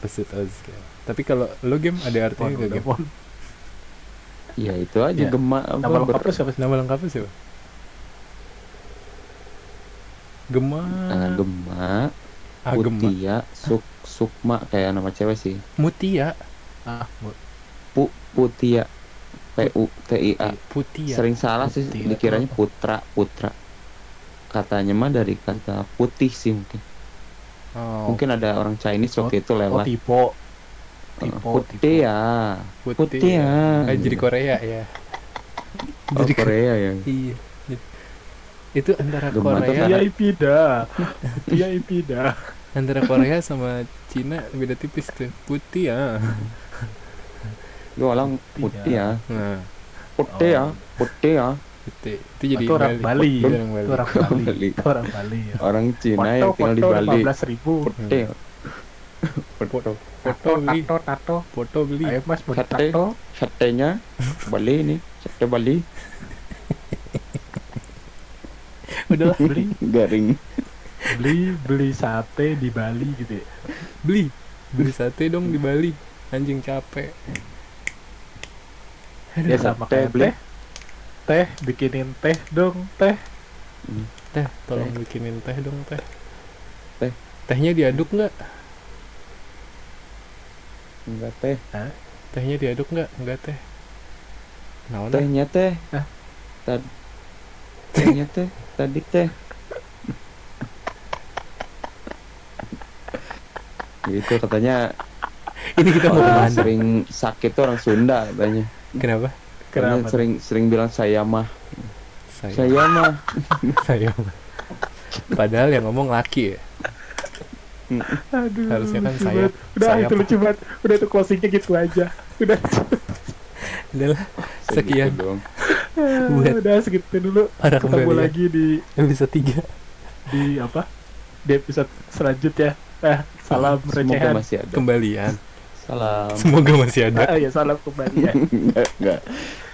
B: Pesut Ozil. Tapi kalau lo game ada
A: Mon,
B: artinya nggak
A: udah,
B: game?
A: Mon.
C: Ya itu aja
A: Ya.
C: gemak apa
A: Nama
C: ber-
A: lengkapnya siapa sih?
B: Nama lengkapnya siapa? Gema.
C: ah, gemak,
B: Ah, Gema.
C: Mutia, Suk, Sukma kayak nama cewek sih.
B: Mutia.
A: Ah, Mo-
C: Pu, Putia, P U T I A.
B: Putia.
C: Ah, Sering salah sih
A: Putia.
C: dikiranya putra, putra. Katanya mah dari kata putih sih mungkin.
B: Oh,
C: Mungkin ada orang Chinese waktu itu
A: oh,
C: lewat.
A: Tipo.
C: Uh,
A: Tipo, Tipo.
C: Putia, Putia.
B: Ah, jadi Korea ya.
C: Oh, Korea ya.
B: Iya. Jadi- Itu antara
C: Gema tuh
B: Korea,
A: Iya, Ipida. Iya, Ipida.
B: antara Korea sama Cina beda tipis tuh. Putih ya.
C: Yo orang Putia,
B: Nah,
C: Putia,
A: Oh.
C: Putia.
B: putih. Itu jadi
A: Itu orang Bali.
B: Itu orang Bali.
A: Itu orang Bali.
C: Bali.
A: Itu orang Bali ya.
C: Orang Cina yang tinggal di Bali.
A: 15 ribu.
C: Putia.
B: Foto, foto
A: Tato,
B: beli,
A: tato, tato.
B: foto beli.
A: Ayo mas, mau
C: Sate,
A: tato.
C: satenya Bali nih, sate Bali
B: Udah lah,
A: Beli,
C: garing.
A: beli, beli sate di Bali gitu ya.
B: beli. Beli sate dong di Bali. Anjing capek.
A: Ya
C: Ya,
A: Iya, sama
C: teh,
A: kayak
C: beli.
A: teh. Teh, bikinin teh dong, teh.
B: Teh, tolong bikinin teh dong teh.
C: Teh.
B: Tehnya diaduk nggak?
C: Enggak teh,
B: Tehnya diaduk nggak? Enggak teh. Naon teh?
C: tehnya teh.
A: Hah?
C: Tad tehnya teh, tadi teh. Gitu katanya
B: Ini kita mau
C: orang
B: kemana?
C: sering sakit tuh orang Sunda katanya.
B: Kenapa?
C: Katanya
A: Kenapa?
C: sering sering bilang saya mah,
B: Saya,
C: saya mah.
B: saya. Padahal yang ngomong laki ya.
A: Aduh,
B: Harusnya kan
A: lucu
B: sayap-
A: banget. Hmm. Udah
B: sayap.
A: itu lucu banget. Udah itu closingnya gitu aja. Udah,
B: Adalah
C: Saya
B: Sekian.
C: gitu dong.
B: Buat.
A: udah segitu dulu.
B: Orang
A: Ketemu
B: Bali ya.
A: lagi di
B: episode 3.
A: di apa? Di episode selanjutnya. Eh, salam
C: Semoga
A: recehan.
C: masih ada.
B: Kembalian.
C: Salam.
B: Semoga masih ada.
A: Ah, ya Eh, iya, salam kembali ya.
C: Eh, Enggak, enggak.